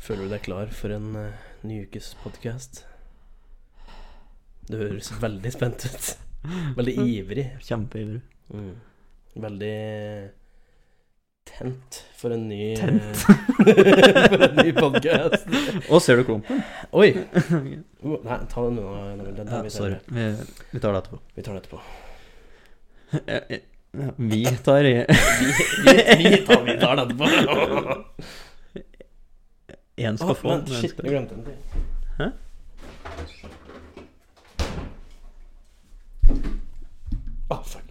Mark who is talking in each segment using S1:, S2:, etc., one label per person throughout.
S1: Føler du deg klar for en eh, ny ukes podkast? Du høres veldig spent ut. Veldig
S2: Mm.
S1: ivrig.
S2: Kjempeivrig.
S1: Mm. Veldig tent for en ny eh,
S2: Tent?
S1: for en ny podkast.
S2: Og ser du klumpen?
S1: Oi! Oh, nei, ta den unna. Emil. Den tar
S2: Ja,
S1: vi
S2: sorry.
S1: senere.
S2: Vi, vi tar det etterpå.
S1: Vi tar den etterpå.
S2: Eh, eh, ja, Vi tar
S1: Vi, vi, tar, vi tar den etterpå.
S2: Én skal
S1: Å,
S2: få.
S1: men
S2: den, en
S1: shit,
S2: skal-
S1: jeg glemte en ting.
S2: Hæ?
S1: Å, fuck.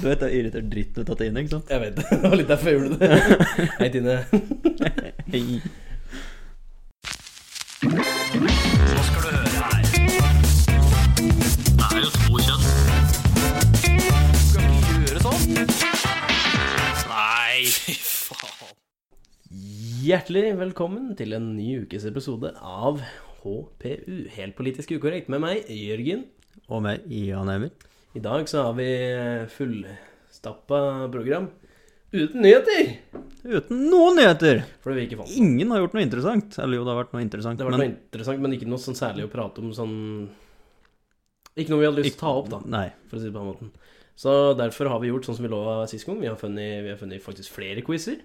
S2: Du vet det irriterer dritten ut av Tine, ikke sant?
S1: Jeg vet det. Det var litt derfor jeg gjorde det. Hei, Tine.
S2: Hei.
S1: Hjertelig velkommen til en ny ukes episode av HPU, helt politisk ukorrekt, med meg, Jørgen.
S2: Og med Ian Emil.
S1: I dag så har vi fullstappa program uten nyheter!
S2: Uten noen nyheter!
S1: For det vi ikke fant.
S2: Ingen har gjort noe interessant. Eller jo, det har vært noe interessant,
S1: Det har vært noe interessant, men ikke noe sånn særlig å prate om sånn Ikke noe vi hadde lyst til å ta opp, da,
S2: Nei.
S1: for å si det på den måten. Så derfor har vi gjort sånn som vi lova sist gang. Vi har funnet, vi har funnet faktisk flere quizer.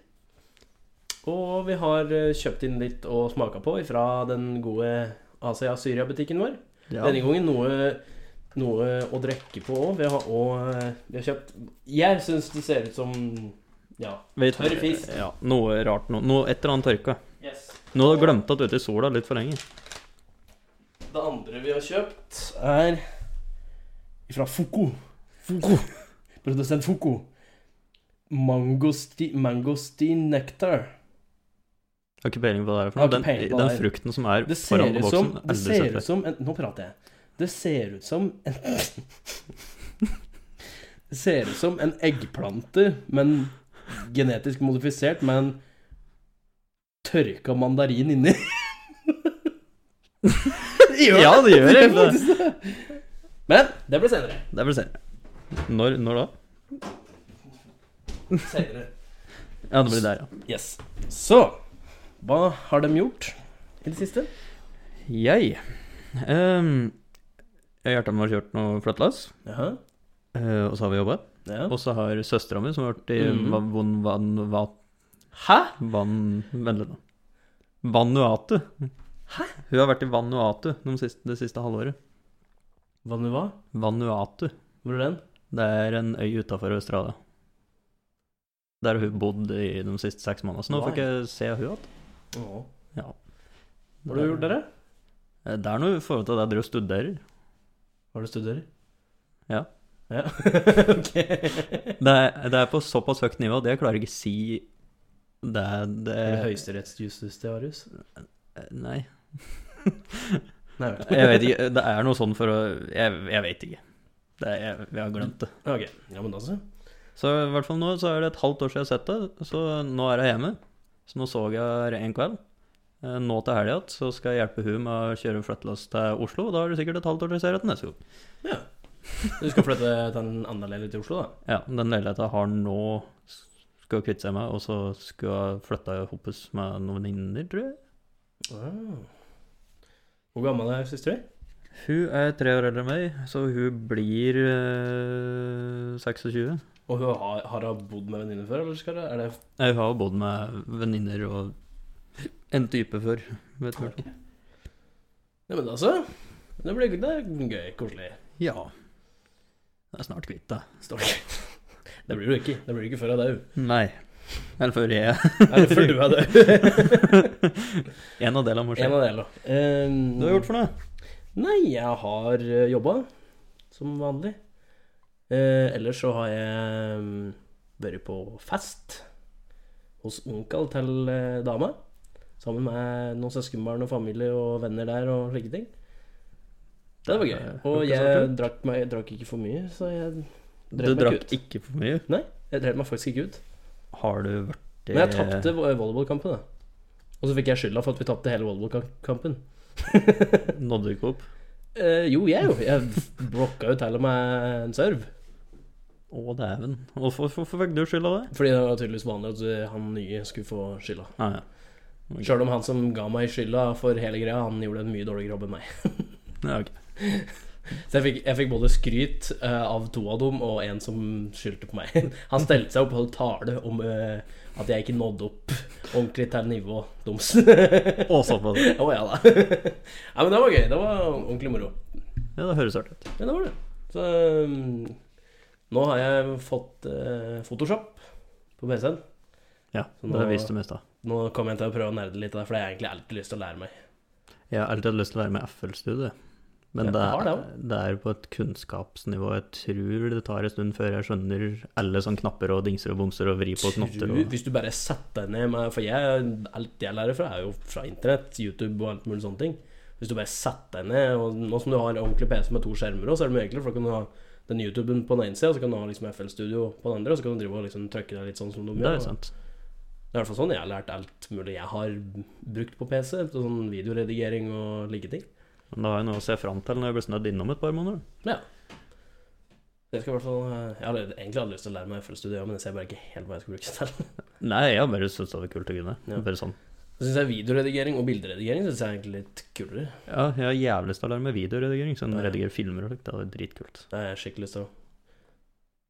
S1: Og vi har eh, kjøpt inn litt og smaka på fra den gode Asia Syria-butikken vår.
S2: Ja.
S1: Denne gangen noe, noe å drikke på òg. Vi, har også, eh, vi har kjøpt Jeg syns det ser ut som Ja.
S2: Vet-
S1: tørr fisk.
S2: Ja, noe rart. Noe, noe et eller annet tørka.
S1: Yes.
S2: Nå har du glemt at du er ute i sola litt for lenge.
S1: Det andre vi har kjøpt er fra Foko. Foko. Produsent Foko. Mangosti, mangosti nektar.
S2: Jeg har ikke peiling på hva det er for
S1: Jeg har ikke
S2: noe. Den,
S1: peiling på
S2: den
S1: det.
S2: frukten som er
S1: Det ser
S2: foran på
S1: ut
S2: boksen,
S1: som, det
S2: aldri
S1: ser
S2: sett før.
S1: ut som en, Nå prater jeg. Det ser ut som en Det ser ut som en eggplante, men genetisk modifisert med en tørka mandarin inni. Gjør
S2: Ja, det gjør
S1: det er
S2: egentlig det.
S1: faktisk det. Men det blir senere.
S2: Det blir senere. Når, når da?
S1: senere.
S2: Ja, det blir der, ja.
S1: Yes. Så hva har de gjort i det siste?
S2: Jeg um, Jeg og Hjertan har kjørt noe flatlass,
S1: Jaha.
S2: eh, og så har vi jobba.
S1: Ja.
S2: Og så har søstera mi, som har vært i
S1: Mhm.
S2: va- von van, va,
S1: Hæ?
S2: van, Vent litt, nå. Vanuatu.
S1: Hæ?
S2: Hun har vært i Vanuatu de siste, det siste halvåret.
S1: Hva nå hva?
S2: Vanuatu.
S1: Hvor er den?
S2: Det er en øy utafor Australia. Der hun bodde i de siste seks månedene. Så nå
S1: Wow.
S2: får jeg ikke se hun igjen.
S1: Åh.
S2: Ja.
S1: Hva har du gjort, dere?
S2: Eh, Det er noe i forhold til det dere studerer.
S1: Hva har du studerer?
S2: Ja.
S1: Ja, ok.
S2: Det er, det er på såpass høyt nivå at jeg klarer ikke si det, er- det
S1: Er det høyesterettsjustus det, Arius?
S2: Nei.
S1: Nei,
S2: Jeg vet ikke. Det er noe sånn for å Jeg, jeg vet ikke. Det er, jeg, jeg har glemt det.
S1: Ok, ja, men da så.
S2: Så i hvert fall nå så er det et halvt år siden jeg har sett det, så nå er jeg hjemme. Så nå så jeg det en kveld. Eh, Nå til helga igjen så skal jeg hjelpe hun med å kjøre flyttelass til Oslo. Da er det sikkert et halvt år til jeg ser henne neste gang.
S1: Ja. Du skal flytte til en annen leilighet i Oslo, da?
S2: Ja, den leiligheta har nå skal hun kvitte seg med, og så skal hun flytte sammen med noen venninner, tror jeg.
S1: Ah. Hvor gammel er søster din?
S2: Hun er tre år eldre enn meg, så hun blir eh, 26.
S1: Og hun har, har hun bodd med venninner før, eller skal det? Er det
S2: Nei, Hun har jo bodd med venninner og en type før. Vet du. hva.
S1: Ja, men da så. Det blir det er gøy, koselig.
S2: Ja. Det er snart kvitt, da.
S1: Står det ikke. Det blir du ikke. Det blir du ikke før jeg er død.
S2: Nei. Eller før jeg
S1: Eller før du er død.
S2: En av delene må skje.
S1: en av delene. Um,
S2: Du har gjort for noe?
S1: Nei, jeg har eh, jobba som vanlig. Eh, ellers så har jeg mm, vært på fest hos onkel til eh, dama. Sammen med noen søskenbarn og familie og venner der og slike ting. Det var gøy. Og jeg drakk, meg, jeg drakk ikke for mye, så jeg
S2: Du
S1: drev meg
S2: drakk
S1: ikke ut.
S2: ikke for mye.
S1: Jeg drev meg faktisk ikke ut.
S2: Har du vært
S1: Men jeg tapte vo- volleyballkampen, da. Og så fikk jeg skylda for at vi tapte hele volleyballkampen.
S2: Nådde ikke opp.
S1: Eh, jo, jeg jo. Jeg blokka jo til og med en serve.
S2: Å, dæven. Hvorfor hvorfor fikk du skyld av det?
S1: Fordi det var tydeligvis vanlig at han nye skulle få skylda.
S2: Ah, ja.
S1: Sjøl om han som ga meg skylda for hele greia, han gjorde en mye dårligere jobb enn meg.
S2: ja, ok.
S1: Så jeg fikk, jeg fikk både skryt eh, av to av dem, og en som skyldte på meg. Han stelte seg opp og holdt tale om eh, at jeg ikke nådde opp ordentlig til nivået deres. Å
S2: Å, såpass.
S1: ja da. Nei, men det var gøy. Det var ordentlig moro.
S2: Ja, det høres artig ut.
S1: Men det var det. Så um, nå har jeg fått eh, Photoshop på PC-en.
S2: Ja,
S1: Så nå-
S2: det viste du mest av.
S1: Nå kommer jeg til å prøve å nerde litt av det, for det har jeg egentlig alltid lyst til å lære meg.
S2: Jeg har alltid hatt lyst til å være med i FL-studio. Men
S1: Ja,
S2: det
S1: har
S2: er,
S1: det
S2: det er på et kunnskapsnivå jeg tror det tar en stund før jeg skjønner alle sånne knapper og dingser og bomser og vri på knotter
S1: Tror-
S2: og
S1: Hvis du bare setter deg ned med For jeg, alt jeg lærer fra, er jo fra internett, YouTube og alt mulig sånne ting. Hvis du bare setter deg ned og Nå som du har ordentlig PC med to skjermer, også, så er det mye enklere, for da kan du ha den YouTuben på den ene sida, så kan du ha liksom FL Studio på den andre, og så kan du drive og liksom trykke deg litt sånn som de
S2: Det
S1: gjør.
S2: er jo
S1: da.
S2: sant.
S1: Det er i hvert fall sånn jeg har lært alt mulig jeg har brukt på PC. Sånn videoredigering og like ting.
S2: Men det har jeg noe å se fram til når jeg blir snødd innom et par måneder.
S1: Jeg, skal i hvert fall, eh, jeg har egentlig hadde lyst til å lære meg FL Studio, men jeg ser bare ikke helt hva jeg skal bruke det til.
S2: Nei, jeg har bare syntes det var kult å kunne.
S1: Ja.
S2: Bare sånn.
S1: Så syns jeg videoredigering og bilderedigering synes jeg er egentlig litt kulere.
S2: Ja, jeg har jævlig lyst til å lære meg videoredigering, sånn
S1: Ja.
S2: redigere filmer og slikt. Det hadde vært dritkult.
S1: Det har jeg skikkelig lyst til.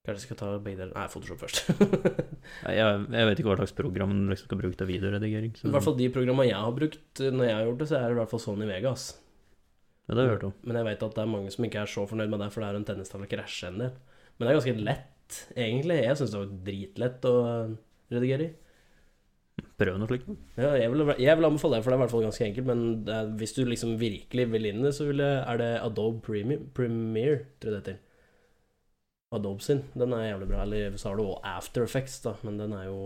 S1: Kanskje jeg skal ta begge deler Nei, Photoshop først.
S2: Nei, Jeg, jeg vet ikke hva slags program man liksom skal bruke til videoredigering. Så,
S1: I hvert fall de programmene jeg har brukt eh, når jeg har gjort det, så er det i hvert fall Sony Vegas.
S2: Ja, det har jeg hørt om.
S1: Men jeg vet at det er mange som ikke er så fornøyd med det, for det er en tennistall å krasje en del. Men det er ganske lett, egentlig. Jeg syns det var dritlett å redigere i.
S2: Prøv noe slikt.
S1: Ja, jeg, vil, jeg vil anbefale det, for det er i hvert fall ganske enkelt. Men det er, hvis du liksom virkelig vil inn i det, så vil jeg, er det Adobe Premium, Premiere, tror jeg det heter. Adobe sin. Den er jævlig bra. Eller så har du også After Effects, da, men den er jo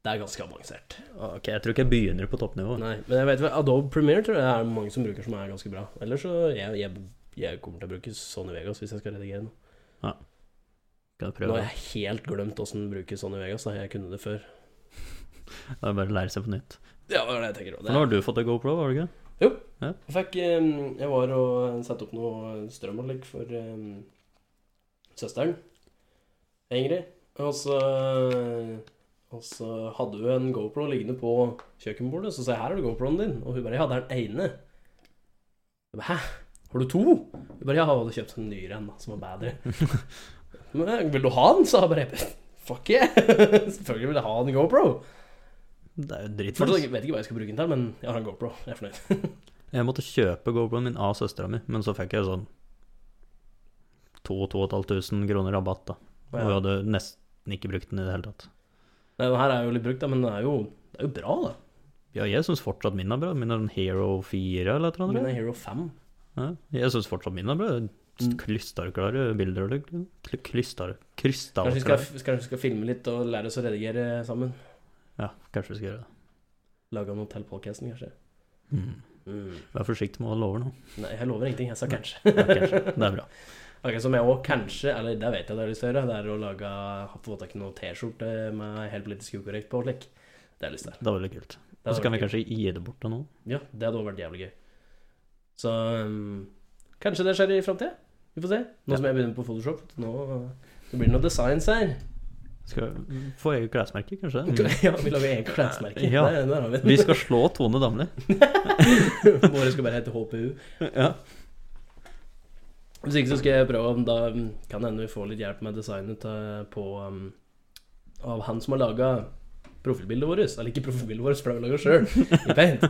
S1: Det er ganske avansert. Ah,
S2: Ok, jeg tror ikke jeg begynner på toppnivå.
S1: Nei, men jeg vet vel, Adobe Premiere tror jeg det er mange som bruker som er ganske bra. Ellers så jeg, jeg, jeg kommer til å bruke Sony Vegas hvis jeg skal redigere noe.
S2: Skal jeg
S1: Nå
S2: prøve.
S1: har jeg helt glemt åssen man bruker Sony Vegas. Da. Jeg kunne det før.
S2: Det er bare å lære seg på nytt.
S1: Ja, det var det jeg tenker også.
S2: For nå har du fått deg GoPro, har du ikke?
S1: Jeg fikk eh, Jeg var og satte opp noe strømanlegg for eh, søsteren, Ingrid. Og så Og så hadde hun en GoPro liggende på kjøkkenbordet, så sa jeg 'her har du GoProen din', og hun bare 'ja, det er den ene'. Jeg bare 'hæ, har du to?' Hun bare 'ja, jeg hadde kjøpt en nyere en, da, som var bedre'. Men eh, 'vil du ha den', sa jeg bare. Fuck yeah! Selvfølgelig vil jeg ha en GoPro.
S2: Det er jo dritfett.
S1: Fortsatt vet jeg ikke hva jeg skal bruke den til, men jeg har en GoPro. Jeg er fornøyd.
S2: Jeg måtte kjøpe GoProen min av søstera mi, men så fikk jeg sånn 2500 kroner rabatt, da. Og
S1: Ja.
S2: hun hadde nesten ikke brukt den i det hele tatt.
S1: Nei, Den her er jo litt brukt, da, men den er jo, det er jo bra, da.
S2: Ja, jeg syns fortsatt min er bra. Min er en Hero 4 eller et eller
S1: Min er
S2: annet.
S1: Hero 5.
S2: Ja, jeg syns fortsatt min er bra.
S1: Mm.
S2: Klystarklare bilder og liksom. Kly- Klystar...
S1: Kanskje vi skal,
S2: Krystallklare.
S1: kanskje vi skal filme litt og lære oss å redigere sammen?
S2: Ja, kanskje vi skal gjøre det.
S1: Lage noe til podcasten, kanskje?
S2: Mm. Vær forsiktig med hva du lover nå.
S1: Nei, jeg lover ingenting. Jeg sa
S2: Nei.
S1: kanskje.
S2: Ja, kanskje. Det er bra.
S1: Akkurat som jeg òg kanskje, eller det vet jeg det har lyst til å gjøre, det er å lage, få tak i noe T-skjorte med helt politisk ukorrekt på. Like. Det har jeg lyst til.
S2: Det var veldig kult.
S1: Det
S2: Og
S1: hadde
S2: så kan vi
S1: vært
S2: kanskje gi det bort til noen.
S1: gøy. Ja, det hadde også vært jævlig gøy. Så um, kanskje det skjer i framtida. Vi får se. Nå
S2: Ja.
S1: som jeg begynner på Photoshop, nå det blir det noe designs her.
S2: Skal få eget klesmerke, kanskje?
S1: Ja, vi lager eget klesmerke.
S2: Mm. Ja.
S1: Der, der har vi
S2: Vi
S1: det.
S2: skal slå Tone Damli.
S1: Våre skal bare hete HPU.
S2: Ja.
S1: Hvis ikke så skal jeg prøve om da um, kan hende vi får litt hjelp med designet til, på um, Av han som har laga profilbildet vårt. Eller ikke profilbildet vårt, for det har vi laga sjøl i Paint.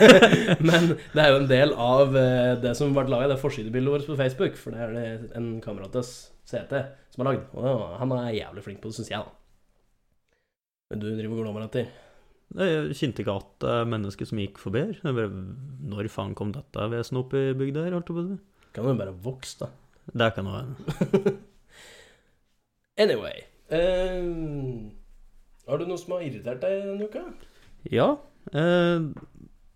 S1: Men det er jo en del av eh, det som ble laga, det er forsidebildet vårt på Facebook. For det er det en kamerat av oss, CT, som har lagd. Og det- han er jævlig flink på det, syns jeg, da. Men du driver og glommer etter.
S2: Nei, Jeg kjente ikke at det er mennesker som gikk forbi her. Jeg bare, Når faen kom dette vesenet opp i bygda her? Holdt jeg på å si.
S1: Kan jo bare vokse, da.
S2: Det kan jo være.
S1: Anyway eh, Har du noe som har irritert deg denne uka?
S2: Ja. Eh,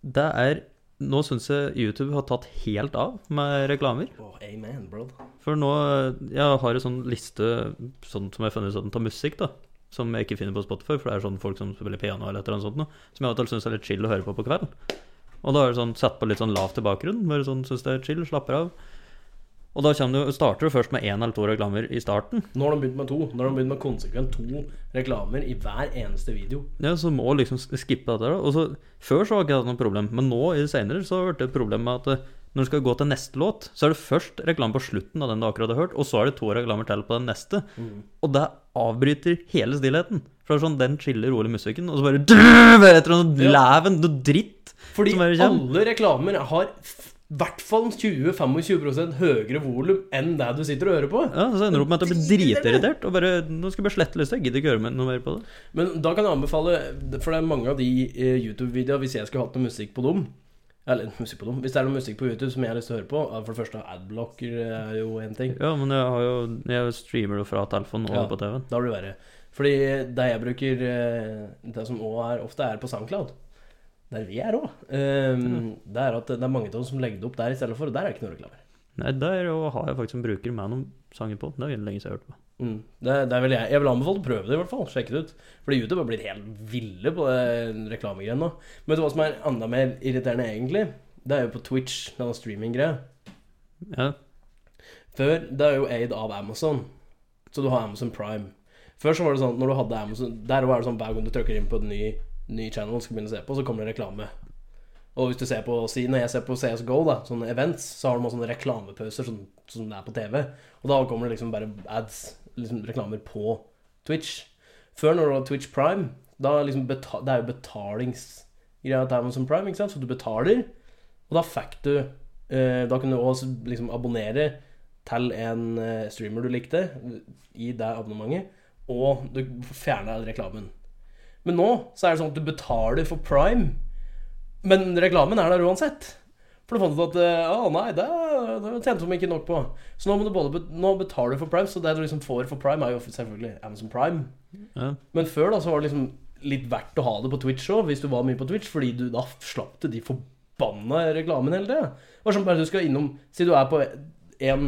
S2: det er Nå syns jeg YouTube har tatt helt av med reklamer.
S1: Åh, amen, bro.
S2: eh, For nå Jeg har en sånn liste sånn som jeg har funnet ut at den tar musikk, da. som jeg ikke finner på Spotify, for det er sånn folk som spiller piano eller et eller annet sånt noe, som jeg av og til syns er litt chill å høre på på kvelden. Og da er det sånn satt på litt sånn lavt i bakgrunnen, bare sånn syns det er chill, slapper av. Og da kommer du, starter du først med én eller to reklamer i starten.
S1: Nå har de begynt med to. Nå har de begynt med konsekvent to reklamer i hver eneste video.
S2: Ja, så må liksom sk- skippe dette. da. Og så, før så var ikke det noe problem, men nå i det senere så har det vært et problem med at eh, når du skal gå til neste låt, så er det først reklame på slutten av den du akkurat har hørt, og så er det to reklamer til på den neste.
S1: Mm.
S2: Og det avbryter hele stillheten. For det er sånn, den chiller rolig musikken, og så bare drrrr, bare et eller annet leven, noe dritt.
S1: Fordi
S2: som bare kommer.
S1: alle reklamer har f- i hvert fall 20-25 høyere volum enn det du sitter og hører på.
S2: Ja, så ender du opp med at du blir dritirritert, og bare, nå skal jeg bare slette lista, jeg gidder ikke høre mer- noe mer på det.
S1: Men da kan jeg anbefale, for det er mange av de eh, YouTube-videoene Hvis jeg skulle hatt noe musikk på dem Eller musikk på dem Hvis det er noe musikk på YouTube som jeg har lyst til å høre på er For det første adblocker er jo en ting
S2: Ja, men jeg har jo, jeg streamer jo fra telefonen og
S1: Ja.
S2: på TV-en.
S1: Da blir det verre Fordi det jeg bruker eh, Det som også er, ofte er på SoundCloud Der vi er også eh, Det er at det er mange av dem som legger det opp der i stedet for Og der er ikke noe reklamer
S2: Nei, der har jeg faktisk en bruker med noen sanger på. Det er lenge siden jeg har hørt på.
S1: Mm. Det, det vil jeg, jeg vil anbefale å prøve det, i hvert fall. Sjekke det ut. Fordi YouTube har blitt helt ville på det reklamegreiene nå. Men vet du hva som er enda mer irriterende, egentlig? Det er jo på Twitch, denne streaminggreia.
S2: Ja,
S1: Før det er jo aid av Amazon. Så du har Amazon Prime. Før så var det sånn når du hadde Amazon Der også er det sånn hver gang du trykker inn på en ny, ny channel og skal begynne å se på, så kommer det reklame. Og hvis du ser på si, Når jeg ser på CSGO, da, sånne events, så har de også sånne reklamepauser sånn, som det er på TV. Og da kommer det liksom bare ads, liksom reklamer på Twitch. Før, når du har Twitch Prime, da liksom beta det er jo betalingsgreia til Amazon Prime, ikke sant? så du betaler, og da fikk du eh, Da kunne du også liksom abonnere til en eh, streamer du likte i det abonnementet, og du fjerner reklamen. Men nå så er det sånn at du betaler for prime, men reklamen er der uansett. For du fant ut at eh, Å nei, det, det tjente vi ikke nok på. Så nå, må du både, bet- nå betaler du for prime, så det du liksom får for prime, er jo selvfølgelig Amazon Prime.
S2: ja.
S1: Men før da så var det liksom litt verdt å ha det på Twitch òg, hvis du var mye på Twitch, fordi du da slapp til de forbanna reklamene hele tida. Det var sånn bare du skal innom Si du er på én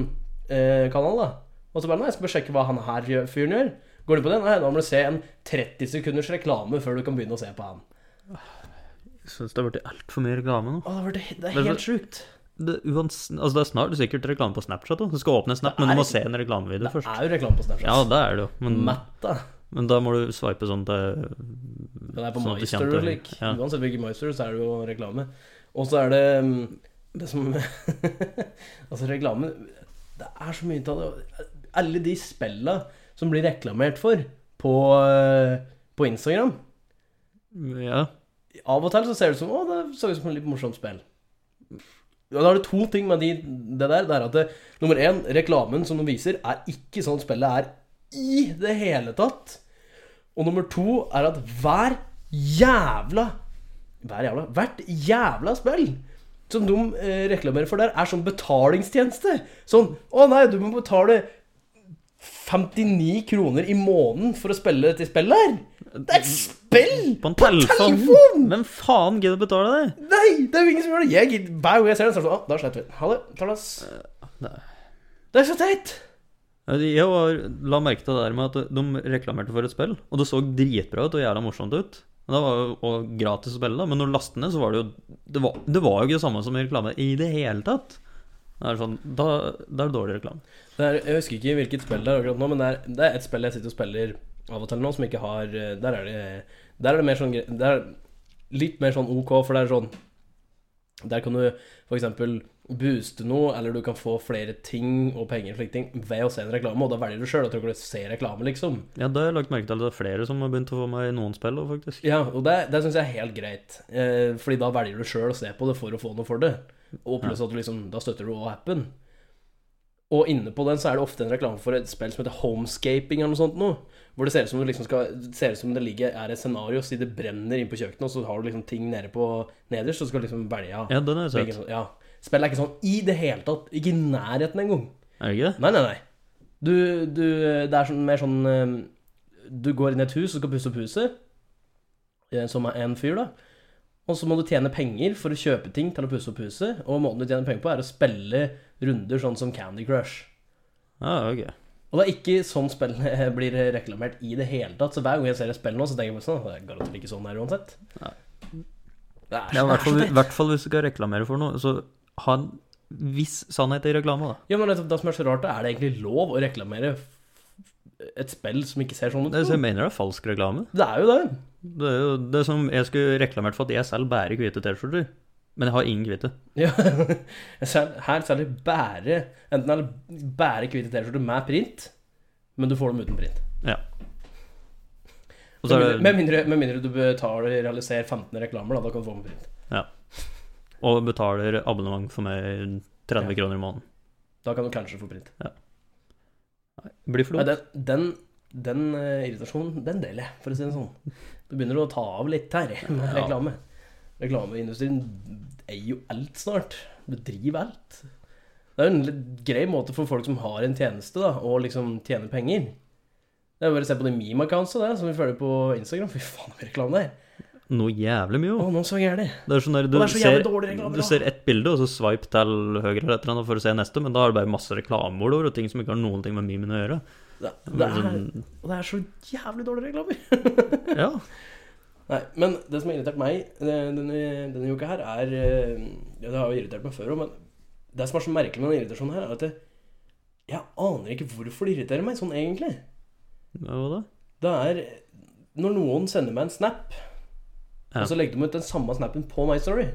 S1: eh, kanal, da. Og så bare Nei, jeg skal bare sjekke hva han her gjør- fyren gjør. Går du på den? Nei, da må du se en 30 sekunders reklame før du kan begynne å se på han.
S2: Jeg syns det har blitt altfor mye reklame nå.
S1: Å, det, var det, det
S2: Men
S1: er
S2: så-
S1: helt sjukt.
S2: Det, uans, altså det er snart sikkert reklame på Snapchat. Da. Du skal åpne en Snap,
S1: Det
S2: men du
S1: er-
S2: må se en reklamevideo
S1: Det
S2: først.
S1: er jo reklame på Snapchat.
S2: Ja, det er det jo, men,
S1: Matta.
S2: men da må du sveipe sånn til
S1: Den er på
S2: Sånn at du
S1: Meister
S2: kjente-
S1: og slik.
S2: ja.
S1: Uansett hvilken Meister, så er det jo reklame. Og så er det mm, det som Altså, reklame Det er så mye av det. Alle de spella som blir reklamert for på, eh, på Instagram.
S2: Ja.
S1: Av og til så ser det ut som Å, det så ut som et litt morsomt spill. Ja, da er det to ting med de, det der. Det er at det, nummer én, reklamen som de viser, er ikke sånn spillet er i det hele tatt. Og nummer to er at hver jævla Hver jævla Hvert jævla spill som de eh, reklamerer for der, er sånn betalingstjeneste. Sånn Å nei, du må betale 59 kroner i måneden for å spille dette spillet her. Det er et spill!
S2: På en telefon!
S1: telefon!
S2: Hvem faen gidder å betale det?
S1: Nei, det er jo ingen som gjør det. Jeg gidder Hver gang jeg ser den, så er det sånn «Å, Da sletter vi den. Ha det. Tarnas.
S2: nei.
S1: Det er så teit.
S2: Altså, Jeg var, la merke til det der med at de reklamerte for et spill, og det så dritbra ut og jævla morsomt ut. Men Det var jo og gratis å spille, da, men når du lastet ned, så var det jo det var, det var jo ikke det samme som i reklame i det hele tatt. Det er sånn, da, da er det dårlig reklame.
S1: Det er, jeg husker ikke hvilket spill det er akkurat nå, men det er, det er et spill jeg sitter og spiller av og til nå, som ikke har eh, Der er det, der er det mer sånn gre- Det er litt mer sånn OK, for det er sånn Der kan du f.eks. booste noe, eller du kan få flere ting og penger og slike ting ved å se en reklame, og da velger du sjøl. Da tror du se reklame, liksom.
S2: Ja, det har jeg lagt merke til at det er flere som har begynt å få meg i noen spill òg, faktisk.
S1: Ja, og det, det syns jeg er helt greit. Eh, fordi da velger du sjøl å se på det for å få noe for det. Og pluss at du liksom, da støtter du også appen. Og inne på den så er det ofte en reklame for et spill som heter Homescaping eller noe sånt noe. Hvor det ser ut som, du liksom skal, det ser ut som det ligger, er et scenario, så det brenner inn på kjøkkenet, og så har du liksom ting nede på nederst, og så skal du liksom velge av.
S2: Ja, den har jeg
S1: begge
S2: sett.
S1: sånne- ja. Spillet er ikke sånn i det hele tatt. Ikke i nærheten engang.
S2: Er det ikke det?
S1: Nei, nei, nei. Du, du, det er sånn, mer sånn eh, Du går inn i et hus og skal pusse opp huset, eh, som er en fyr, da. Og så må du tjene penger for å kjøpe ting til å pusse opp huset. Og måten du tjener penger på, er å spille runder sånn som Candy Crush.
S2: Ja, ok.
S1: Og det er ikke sånn spillene blir reklamert i det hele tatt. Så hver gang jeg ser et spill nå, så tenker jeg bare sånn Det er garantert ikke sånn her uansett.
S2: Nei.
S1: Det er så,
S2: Ja, i hvert fall,
S1: det er så
S2: i
S1: teit.
S2: hvert fall hvis du skal reklamere for noe, så ha en viss sannhet i reklama, da.
S1: Ja, men nettopp det som er så rart, er det egentlig lov å reklamere et spill som ikke ser sånn ut?
S2: Det, så jeg mener det er falsk reklame.
S1: Det er jo det.
S2: Det er jo det som jeg skulle reklamert for at jeg selv bærer hvite T-skjorter. Men jeg har ingen hvite.
S1: Ja. Sel- Her selger de bare Enten er det bare hvite T-skjorter med print, men du får dem uten print.
S2: Og så er
S1: med,
S2: det
S1: mindre, med mindre du betaler realiser 15 reklamer, da, da kan du få dem med print.
S2: og betaler abonnement for meg 30 kroner i måneden.
S1: Da kan du kanskje få print.
S2: Blir for
S1: Nei,
S2: dumt.
S1: den, den, den eh, irritasjonen, den deler jeg, for å si det sånn. Du begynner å ta av litt her med
S2: Ja.
S1: reklame. Reklameindustrien er jo alt snart. Du driver alt. Det er jo en litt grei måte for folk som har en tjeneste, da, å liksom tjene penger. Det er jo bare å se på de meme accounts og det, som vi følger på Instagram. Fy faen, hva reklame det er.
S2: Noe jævlig mye.
S1: Å,
S2: jo.
S1: nå så jeg det.
S2: Det er sånn der, du,
S1: Og det er så jævlig dårlig
S2: ser,
S1: reklame,
S2: du
S1: da.
S2: ser ett bilde, og så swipe til høyre eller et eller annet for å se neste, men da har du bare masse reklameord over og ting som ikke har noen ting med memen å gjøre.
S1: Det,
S2: Det
S1: det,
S2: er
S1: er,
S2: sånn-
S1: og det er så jævlig dårlige reklamer.
S2: Ja.
S1: Nei, men det som har irritert meg eh, denne, denne uka her, er eh, ja, Det har jo irritert meg før òg, men det som er så merkelig med den irritasjonen her, er at jeg, jeg aner ikke hvorfor det irriterer meg sånn, egentlig.
S2: Hva da?
S1: Det er når noen sender meg en snap,
S2: Ja.
S1: og så legger de ut den samme snappen på My Story.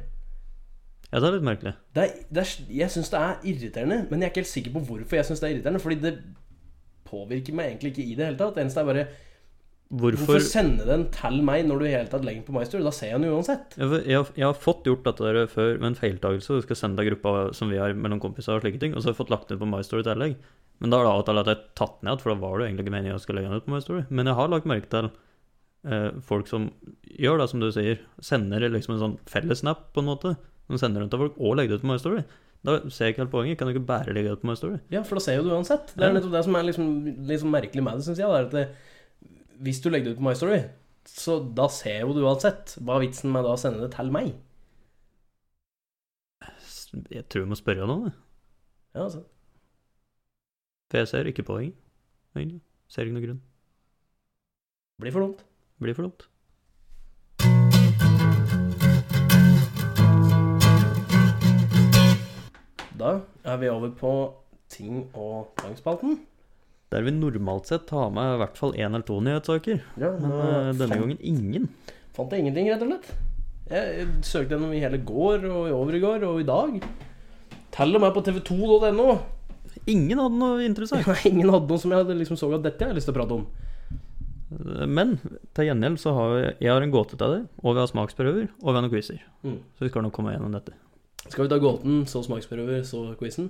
S2: Ja, det er litt merkelig.
S1: Det er, det er, jeg syns det er irriterende, men jeg er ikke helt sikker på hvorfor jeg syns det er irriterende. Fordi det påvirker meg egentlig ikke i det hele tatt. Det eneste er bare
S2: Hvorfor
S1: Hvorfor sende den til meg når du i hele tatt legger den på My Story? Da ser jeg den uansett.
S2: Jeg, jeg, har- jeg har fått gjort dette der før med en feiltagelse. Du skal sende deg gruppa som vi har mellom kompiser og slike ting. Og så har jeg fått lagt den ut på MyStory i tillegg. Men da er det av og til at jeg har tatt den ned, for da var det jo egentlig ikke meningen jeg skulle legge den ut på MyStory. Men jeg har lagt merke til eh, folk som gjør det, som du sier. Sender liksom en sånn fellesnap, på en måte. De sender den til folk og legger det ut på MyStory. Da ser jeg ikke helt poenget. Kan du ikke bare legge det ut på MyStory?
S1: Ja, for da ser jo du uansett. Det er
S2: Ja.
S1: nettopp det som er liksom, litt sånn merkelig med det, syns jeg. Det er at det, hvis du legger det ut på My Story, så da ser jo du uansett. Hva er vitsen med da å sende det til meg?
S2: S- Jeg tror jeg må spørre noen, jeg.
S1: Ja, altså.
S2: for jeg ser ikke poenget. Egentlig. Ser ikke noen grunn.
S1: det Blir for dumt.
S2: Blir for dumt.
S1: Da er vi over på ting og tangspalten.
S2: Der vi normalt sett har med i hvert fall én eller to nyhetssaker.
S1: Ja,
S2: Men eh, denne gangen ingen.
S1: Fant jeg ingenting, rett og slett. Jeg, jeg søkte gjennom i hele går og i overgård og i dag. Til og med på tv2.no.
S2: Ingen hadde noe interessant.
S1: Ingen hadde noe som jeg hadde liksom så at dette jeg har lyst til å prate om.
S2: Men til gjengjeld så har vi, jeg har en gåte til deg, og vi har smaksprøver, og vi har noen quizer.
S1: Mm.
S2: Så vi skal nok komme gjennom dette.
S1: Skal vi ta gåten, så smaksprøver, så quizen?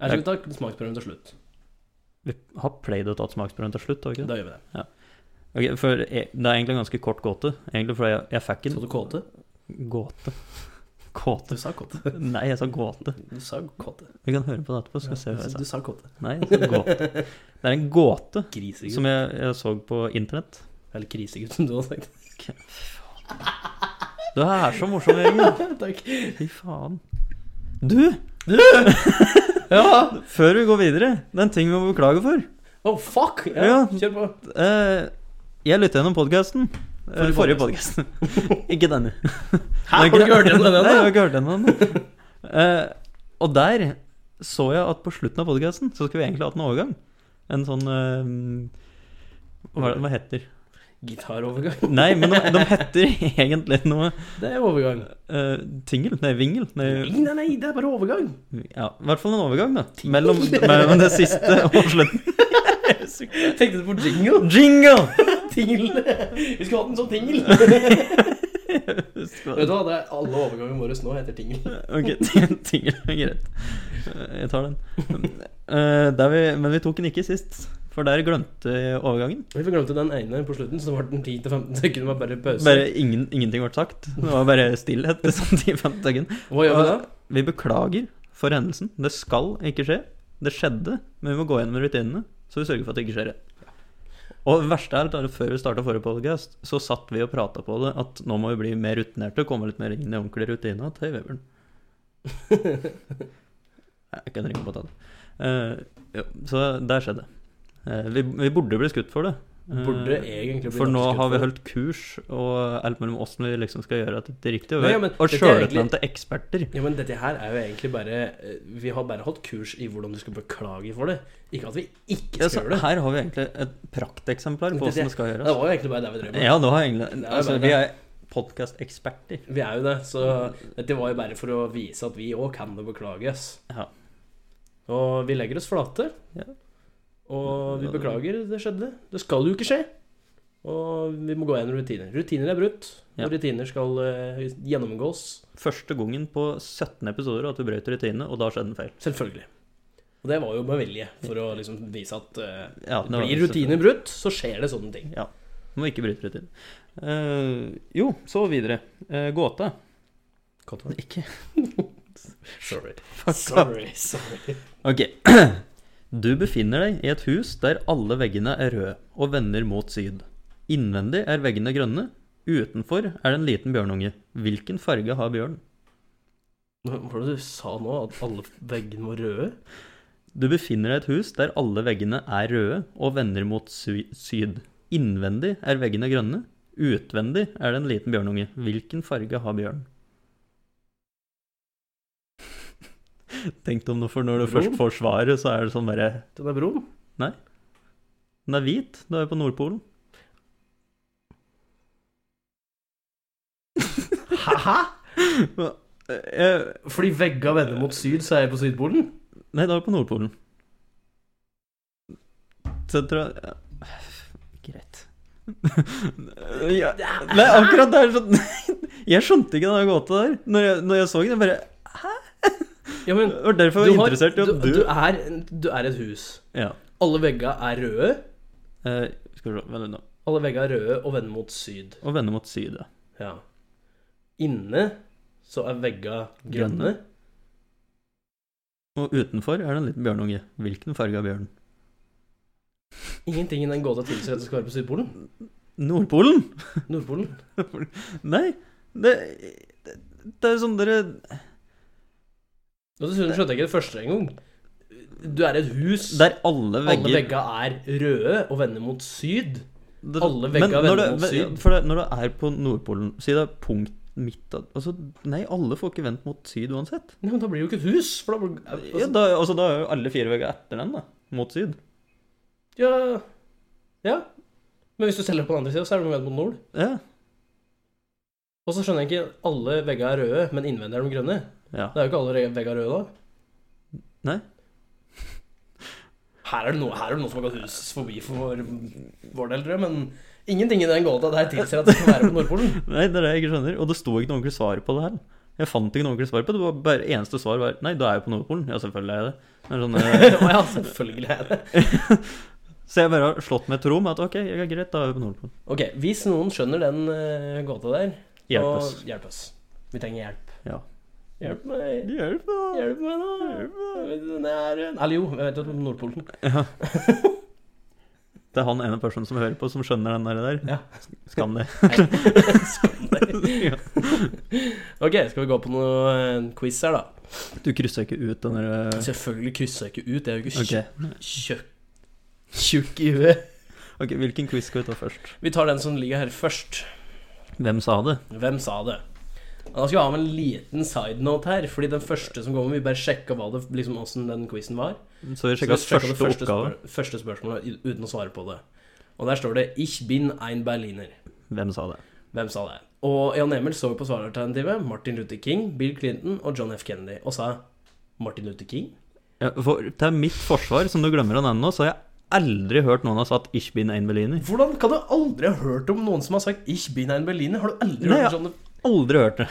S1: Eller skal vi ta smaksprøven til slutt?
S2: Vi har pleid å ta smaksprøven til slutt, har vi ikke det?
S1: Da gjør vi det.
S2: Ok, for jeg, det er egentlig en ganske kort gåte, egentlig fordi jeg, jeg fikk en
S1: Sa du kåte?
S2: gåte. Gåte?
S1: Du sa kåte.
S2: Nei, jeg sa gåte.
S1: Du sa kåte.
S2: Vi kan høre på det etterpå, skal vi se hva jeg
S1: Du,
S2: sa.
S1: du sa kåte.
S2: Nei, jeg sa gåte. Det er en gåte
S1: Grisegutt.
S2: som jeg, jeg så på internett.
S1: Eller krisegutt, som du har sagt.
S2: Du er så morsom, Jørgen.
S1: Takk.
S2: Fy faen. Du! ja, før vi går videre, det er en ting vi må beklage for.
S1: Oh, fuck!
S2: Ja.
S1: Ja, kjør på.
S2: Eh, jeg lytta gjennom podkasten.
S1: Forrige
S2: forrige podkasten. ikke denne.
S1: Hæ, har du ikke hørt igjen den
S2: Nei, jeg har
S1: ennå?
S2: ikke hørt den ennå. Eh, og der så jeg at på slutten av podkasten så skulle vi egentlig hatt en overgang. En sånn eh, Hva er det de heter?
S1: Gitarovergang.
S2: Nei, men de, de heter egentlig noe
S1: Det er overgang.
S2: eh, Tingel? Nei, vingel? Nei,
S1: Nei, nei, nei, det er bare overgang.
S2: Ja, i hvert fall en overgang, da. Mellom, mellom det siste og slutten.
S1: Tenkte du på jingle?
S2: Jingle!
S1: Tingle. Vi skulle hatt en sånn tingle. Vet du hva, det er alle overgangene våre nå heter tingle.
S2: Ok, tingle er greit. Jeg tar den. Eh, der vi, men vi tok den ikke sist, for der glemte jeg overgangen.
S1: Vi glemte den ene på slutten, så det ble den 10-15 sekunder med bare pause.
S2: Bare ingen, Ingenting ble sagt. Det var bare stillhet. i sånn 10-15 sekunder.
S1: Hva gjør vi da?
S2: Vi beklager for hendelsen. Det skal ikke skje. Det skjedde, men vi må gå gjennom rutinene, så vi sørger for at det ikke skjer igjen. Og det verste er at før vi starta forrige podcast, så satt vi og prata på det at nå må vi bli mer rutinerte og komme litt mer inn i ordentlig rutine til Vebjørn. Jeg kan ringe på det. Eh, jo, så der skjedde. Eh, Vi, vi burde bli skutt for det. Eh,
S1: Burde egentlig bli
S2: For nå
S1: dagskutt
S2: har vi
S1: det.
S2: holdt kurs og alt mellom åssen vi liksom skal gjøre dette riktig. Og,
S1: Nei,
S2: vi-
S1: ja, men
S2: og
S1: dette er
S2: sjølutnevnte eksperter.
S1: Ja, men dette her er jo egentlig bare eh, Vi har bare holdt kurs i hvordan du skal beklage for det. Ikke at vi ikke skal
S2: Ja, så
S1: gjøre det.
S2: her har vi egentlig et prakteksemplar
S1: Men
S2: på
S1: det-
S2: åssen det skal
S1: Det
S2: gjøres.
S1: var jo egentlig bare det vi drev med.
S2: Ja, det har egentlig
S1: Det Mm. er jo
S2: Altså,
S1: bare
S2: vi er podkasteksperter.
S1: Vi er jo det, så dette var jo bare for å vise at vi òg kan det beklages.
S2: Ja.
S1: Og vi legger oss flate.
S2: Ja.
S1: Og vi beklager, det skjedde. Det skal jo ikke skje. Og vi må gå gjennom rutiner. Rutiner er brutt, og
S2: Ja.
S1: rutiner skal eh, gjennomgås.
S2: Første gangen på 17 episoder at vi brøt rutinene, og da skjedde en feil.
S1: Selvfølgelig. Og det var jo med vilje, for å liksom vise at eh,
S2: Ja, det var-
S1: blir rutiner brutt, så skjer det sånne ting.
S2: Ja. Må ikke bryte rutinen. Eh, jo, så videre. Eh, gåte. Ikke
S1: Sorry.
S2: Fuck off.
S1: Sorry. Sorry.
S2: Ok. Du befinner deg i et hus der alle veggene er røde og vender mot syd. Innvendig er veggene grønne. Utenfor er det en liten bjørnunge. Hvilken farge har bjørnen?
S1: Hva var det du sa nå? At alle veggene var røde?
S2: Du befinner deg i et hus der alle veggene er røde og vender mot sy syd. Innvendig er veggene grønne. Utvendig er det en liten bjørnunge. Hvilken farge har bjørnen? Tenk deg om noe, for når du først får svaret, så er det sånn bare
S1: Den er brom.
S2: Den er hvit. Du er jo på Nordpolen.
S1: Hæ?
S2: Eh,
S1: Fordi vegga vender mot syd, så er jeg på Sydpolen?
S2: Nei, da er vi på Nordpolen. Så jeg tror ja. Greit. ja. Nei, akkurat der sånn Jeg skjønte ikke den gåta der. Når jeg, når jeg så den, jeg bare
S1: Ja, men
S2: Det var derfor jeg var interessert i at du,
S1: du, du, er, du er et hus.
S2: Ja.
S1: Alle vegga er røde.
S2: Eh, skal vi se Vent litt nå.
S1: Alle vegga er røde og vender mot syd.
S2: Og vende mot syd. ja.
S1: Ja. Inne så er vegga grønne.
S2: Og utenfor er det en liten bjørnunge. Hvilken farge har bjørnen?
S1: Ingenting i den gåta tilsier at det skal være på Sydpolen.
S2: Nordpolen?
S1: Nordpolen.
S2: Nei. Det, det, det er sånn dere
S1: Og så skjønte jeg ikke det første engang. Du er et hus.
S2: Der alle vegger
S1: Alle vegga er røde og vender mot syd.
S2: Det-
S1: Alle vegger
S2: men når
S1: vender
S2: du-
S1: mot
S2: ve-
S1: syd.
S2: For det, når du er på Nordpolen, si det er punkt midt av altså, Nei, alle får ikke vendt mot syd uansett.
S1: Nei, men da blir det jo ikke et hus. For da blir,
S2: Ja,
S1: altså,
S2: da, altså, da er jo alle fire vegger etter den, da. Mot syd.
S1: ja, ja. Men hvis du selger på den andre sida, så er det noe mot nord.
S2: Ja.
S1: Og så skjønner jeg ikke Alle vegger er røde, men innvendig er de grønne.
S2: ja.
S1: Det er jo ikke alle re- vegger røde, da.
S2: Nei.
S1: Her er det noe, her er det noe som har gått hus forbi for vår, vår del, tror jeg. Men ingenting i den gåta der tilsier at det skal være på Nordpolen.
S2: nei, det er det jeg ikke skjønner. Og det sto ikke noe ordentlig svar på det her. Jeg fant ikke noe ordentlig svar på det. det var bare Eneste svar var Nei, da er jeg på Nordpolen. Ja, selvfølgelig er jeg det. det er sånn, eh,
S1: Å ja, selvfølgelig er det
S2: så jeg bare har slått meg til ro med at OK, jeg er greit, da er jeg på Nordpolen.
S1: Ok, hvis noen skjønner den eh, gåta der,
S2: Hjelp
S1: og-
S2: oss.
S1: Hjelp oss. Vi trenger hjelp.
S2: Ja.
S1: Hjelp meg.
S2: Hjelp, da.
S1: Hjelp meg, da.
S2: Hjelp
S1: Den er en- Eller jo, jeg vet jo at Nordpolen
S2: Ja. Det er han ene personen som hører på, som skjønner den der. der.
S1: Ja.
S2: Skam det. Ja.
S1: Ok, skal vi gå på noe eh, quiz her, da?
S2: Du krysser ikke ut den der eh,
S1: Selvfølgelig krysser jeg ikke ut. Jeg er jo ikke
S2: Ok.
S1: tjukk Tjukk i huet.
S2: ok, hvilken quiz skal vi ta først?
S1: Vi tar den som ligger her først.
S2: Hvem sa det?
S1: Hvem sa det? Og Da skal vi ha med en liten side note her, fordi den første som kommer, vi bare sjekka hva det, liksom, hvordan den quizen var.
S2: Så vi
S1: Så vi
S2: sjekka
S1: sjekket
S2: første,
S1: det
S2: oppgave.
S1: spør- første spørsmålet u- uten å svare på det. Og der står det 'Ich bin ein Berliner'.
S2: Hvem sa det?
S1: Hvem sa det? Og Jan Emil så på svaralternativet Martin Luther King, Bill Clinton og John F. Kennedy, og sa Martin Luther King?
S2: Ja, for, til mitt forsvar, som du glemmer å nevne nå, så har jeg aldri hørt noen ha sagt 'Ich bin ein Berliner'.
S1: Hvordan kan du aldri ha hørt om noen som har sagt 'Ich bin ein Berliner'? Har du aldri
S2: Nei,
S1: hørt
S2: ja.
S1: om John F.
S2: Aldri hørt det.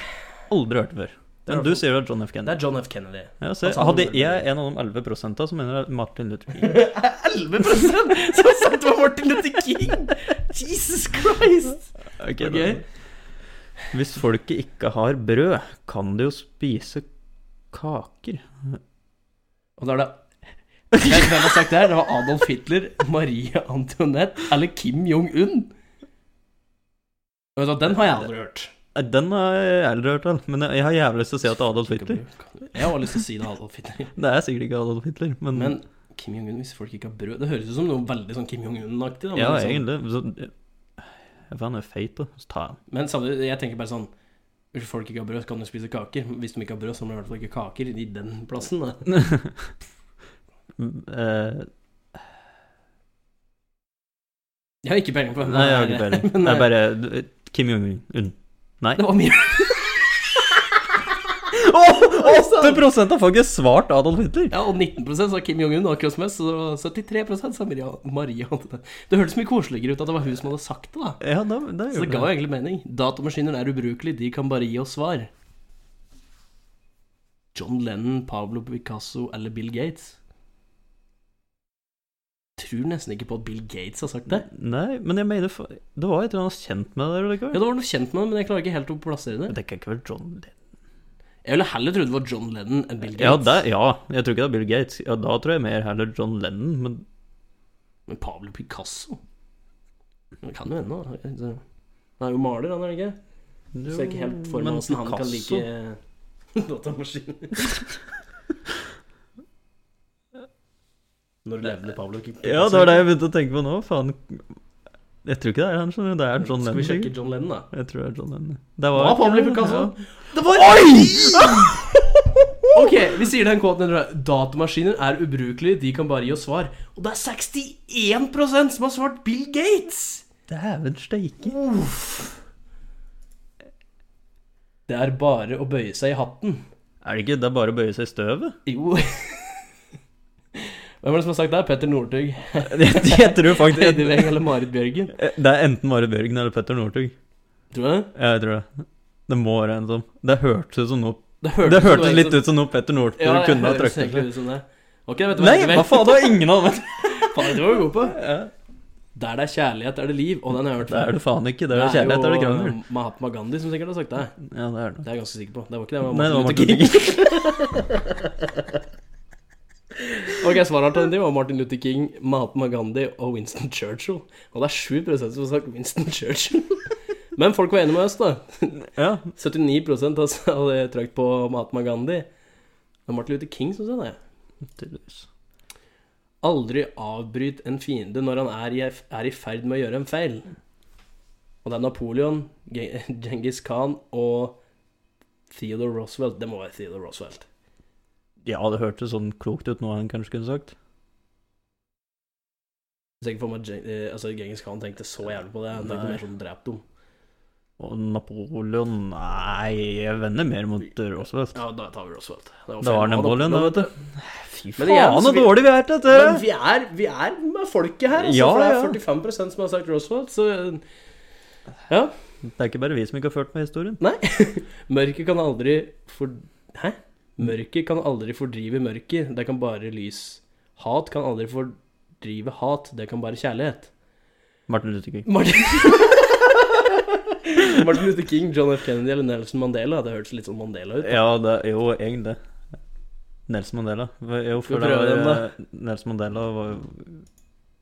S2: Aldri hørt det
S1: er
S2: før. Men du
S1: hvertfall-
S2: sier det er John F.
S1: Det er
S2: Kennedy.
S1: John F. Kennedy.
S2: Ja, så
S1: Han sa han
S2: hadde
S1: aldri
S2: jeg en av de 11 som mener det er Martin Luther King.
S1: 11 som har sagt det var Martin Luther King! Jesus Christ!
S2: Ok,
S1: Ok.
S2: Da. Hvis folket ikke har brød, kan de jo spise kaker.
S1: Og da er det Jeg vet ikke hvem har sagt det her. Det var Adolf Hitler, Marie Antoinette eller Kim Jong-un. Vet du hva, Den har jeg aldri hørt.
S2: Eh, Den har jeg aldri hørt om, men jeg- jeg har jævlig lyst til å si at det er Adolf Hitler.
S1: Jeg har lyst til å si det, Adolf Hitler.
S2: Det er sikkert ikke Adolf Hitler, men,
S1: Men Kim Jong-un hvis folk ikke har brød? Det høres ut som noe veldig sånn Kim Jong-un-aktig. da, men
S2: Ja, sånn-
S1: liksom-
S2: egentlig. Så, jeg faen, er feit, da. Så tar jeg den.
S1: Men samtidig, jeg tenker bare sånn Hvis folk ikke har brød, så kan de spise kaker. Hvis de ikke har brød, så må de i hvert fall ikke ha kaker i den plassen. Da.
S2: Eh,
S1: Jeg har ikke peiling på hvem
S2: nei, jeg har
S1: det
S2: ikke
S1: er,
S2: peiling.
S1: men,
S2: Det er
S1: eh,
S2: bare du- Kim Jong-un. Nei.
S1: Det var mye
S2: Åh, 8 har faktisk svart Adolf Hitler!
S1: Ja, og 19 sa Kim Jong-un, akkurat som oss, og 73 sa Maria. Maria. Det hørtes mye koseligere ut at det var hun som hadde sagt det, da.
S2: Ja, da, det
S1: Så det ga
S2: gjorde det.
S1: egentlig mening. Datamaskiner er ubrukelige, de kan bare gi oss svar. John Lennon, Pablo Picasso eller Bill Gates? Tror nesten ikke på at Bill Gates har sagt det.
S2: Nei, men jeg mener fa- Det var et eller annet kjent med det der.
S1: Ja,
S2: likevel.
S1: det var noe kjent med det, men jeg klarer ikke helt å plassere det.
S2: Det kan ikke være John Lennon.
S1: Jeg ville heller trodd det var John Lennon enn Bill Gates.
S2: Ja, det, ja, jeg tror ikke det er Bill Gates. Ja, da tror jeg mer heller John Lennon, men
S1: Men Pablo Picasso Det kan jo hende, da. Altså, Han er jo maler, han er det ikke? Så jeg er ikke helt for meg
S2: Men
S1: hvordan han kan
S2: Picasso-
S1: like datamaskiner. Når levde Pablo Picasso?
S2: Ja, det var det jeg begynte å tenke på nå. Faen. Jeg tror ikke det er han, skjønner du. Det er John
S1: Skal
S2: Lennon.
S1: vi sjekke
S2: sikkert.
S1: John Lennon, da?
S2: Jeg tror det er John Lennon. Det
S1: Hva, Pablo Picasso? Det var
S2: Oi!
S1: Ok, vi sier den kåten under her. Datamaskiner er ubrukelige, de kan bare gi oss svar. Og det er 61 som har svart Bill Gates!
S2: Dæven steike.
S1: Uff. Det er bare å bøye seg i hatten.
S2: Er det ikke det er bare å bøye seg i støvet?
S1: Jo. Hvem er det som har sagt det? Petter Northug,
S2: Jeg, jeg tror
S1: Heidi
S2: faktisk
S1: Weng eller Marit Bjørgen?
S2: Det er enten Mare Bjørgen eller Petter Northug.
S1: Tror du det?
S2: Ja, Jeg tror det. Det må være en sånn. Det hørtes ut som noe
S1: hørtes,
S2: Det hørtes litt ut som noe Petter Northug
S1: Ja, det
S2: kunne ha
S1: høres
S2: trykket
S1: egentlig
S2: på.
S1: ut som det. Ok, vet du hva?
S2: Nei,
S1: Heidi Weng-
S2: hva faen? Det var ingen av dem!
S1: Faen, det var du god på.
S2: Ja.
S1: Der det er kjærlighet, er det liv. Og den har jeg hørt
S2: Det er
S1: før.
S2: det faen ikke. Det er kjærlighet, det er
S1: jo
S2: det
S1: eh,
S2: krangel.
S1: Mahatma Gandhi som sikkert har sagt det.
S2: Ja, det er det.
S1: Det er jeg ganske sikker på. Det var ikke det.
S2: Nei, det var Martin
S1: Luther King.
S2: Luther King.
S1: Ok, Svaralternativet var Martin Luther King, Mahatma Gandhi og Winston Churchill. Og det er 7 som har sagt Winston Churchill. Men folk var enige med oss, da.
S2: Ja.
S1: 79 altså, hadde trykt på Mahatma Gandhi. Det er Martin Luther King som sa det.
S2: Tydeligvis.
S1: Aldri avbryt en fiende når han er i, er i ferd med å gjøre en feil. Og det er Napoleon, Genghis Khan og Theodore Roosevelt. Det må være Theodore Roosevelt.
S2: Ja, det hørtes sånn klokt ut nå, han kanskje kunne sagt.
S1: Jeg tenker for meg at Gen- eh, altså, Genghis Khan tenkte så jævlig på det. Han tenkte
S2: Nei.
S1: mer sånn drep dem.
S2: Og Napoleon Nei, jeg vender mer mot eh, Roosevelt.
S1: Ja, da tar vi Roosevelt. var
S2: Det
S1: feil.
S2: var Napoleon, da,
S1: Ja,
S2: vet du. Fy
S1: Men igjen,
S2: faen,
S1: så
S2: så
S1: vi-
S2: dårlig vi er til
S1: Men
S2: dette!
S1: vi er, vi er med folket her, altså.
S2: Ja, ja.
S1: for det er 45 som har sagt Roosevelt, så Ja.
S2: Det er ikke bare vi som ikke har ført med historien.
S1: Mørket kan aldri for... Hæ? Mørket kan aldri fordrive mørket, det kan bare lys. Hat kan aldri fordrive hat, det kan bare kjærlighet.
S2: Martin Luther King.
S1: Martin, Martin Luther King, John F. Kennedy eller Nelson Mandela, det hørtes litt sånn Mandela ut.
S2: Ja, det jo egentlig. Nelson Mandela. Jo,
S1: Skal
S2: for
S1: vi
S2: det
S1: prøve
S2: var eh, Nelson Mandela var jo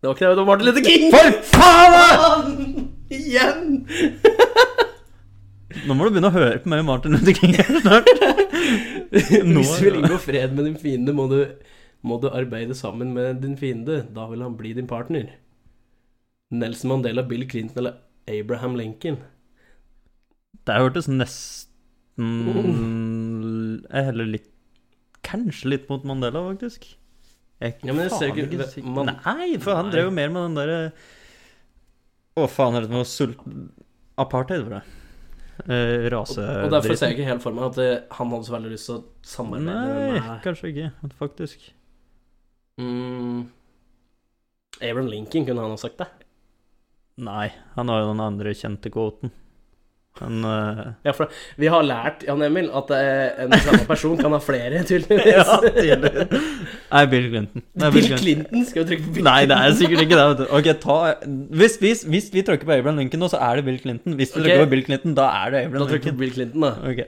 S1: Det var ikke det, det var Martin Luther King!
S2: For faen!
S1: Faen! Igjen!
S2: da! Nå må du begynne å høre på meg og Martin Luther King her snart. Nå,
S1: Hvis du vil inngå fred med din fiende, må du, må du arbeide sammen med din fiende. Da vil han bli din partner. Nelson Mandela, Bill Clinton eller Abraham Lincoln.
S2: Det hørtes
S1: Oh.
S2: nesten Jeg heller litt Kanskje litt mot Mandela, faktisk. Jeg,
S1: Ja, men jeg ser
S2: faen
S1: ikke-
S2: sikker-
S1: man-
S2: Nei, for han
S1: Nei.
S2: drev jo mer med den derre Å, faen, er det noe sult... Apartheid, var det. Eh, rase...
S1: Og derfor ser jeg ikke helt for meg at eh, han hadde så veldig lyst til å samarbeide
S2: Nei,
S1: med
S2: kanskje ikke, faktisk.
S1: mm, Abraham Lincoln kunne han ha sagt det.
S2: Nei, han har jo den andre kjente kvoten. Han eh,
S1: Ja, for vi har lært, Jan Emil, at eh, en samme person kan ha flere, tydeligvis.
S2: Ja, tydelig. Nei, Bill Clinton. Nei,
S1: Bill Clinton skal jo trykke på Bill
S2: Nei, det er sikkert ikke det. vet du. Ok, ta Hvis, hvis, hvis vi trykker på Abraham Lincoln nå, så er det Bill Clinton. Hvis vi
S1: Ok.
S2: trykker på Bill Clinton, da er det
S1: Da
S2: Abraham
S1: trykker vi
S2: Lincoln.
S1: på Bill Clinton, da.
S2: Ok,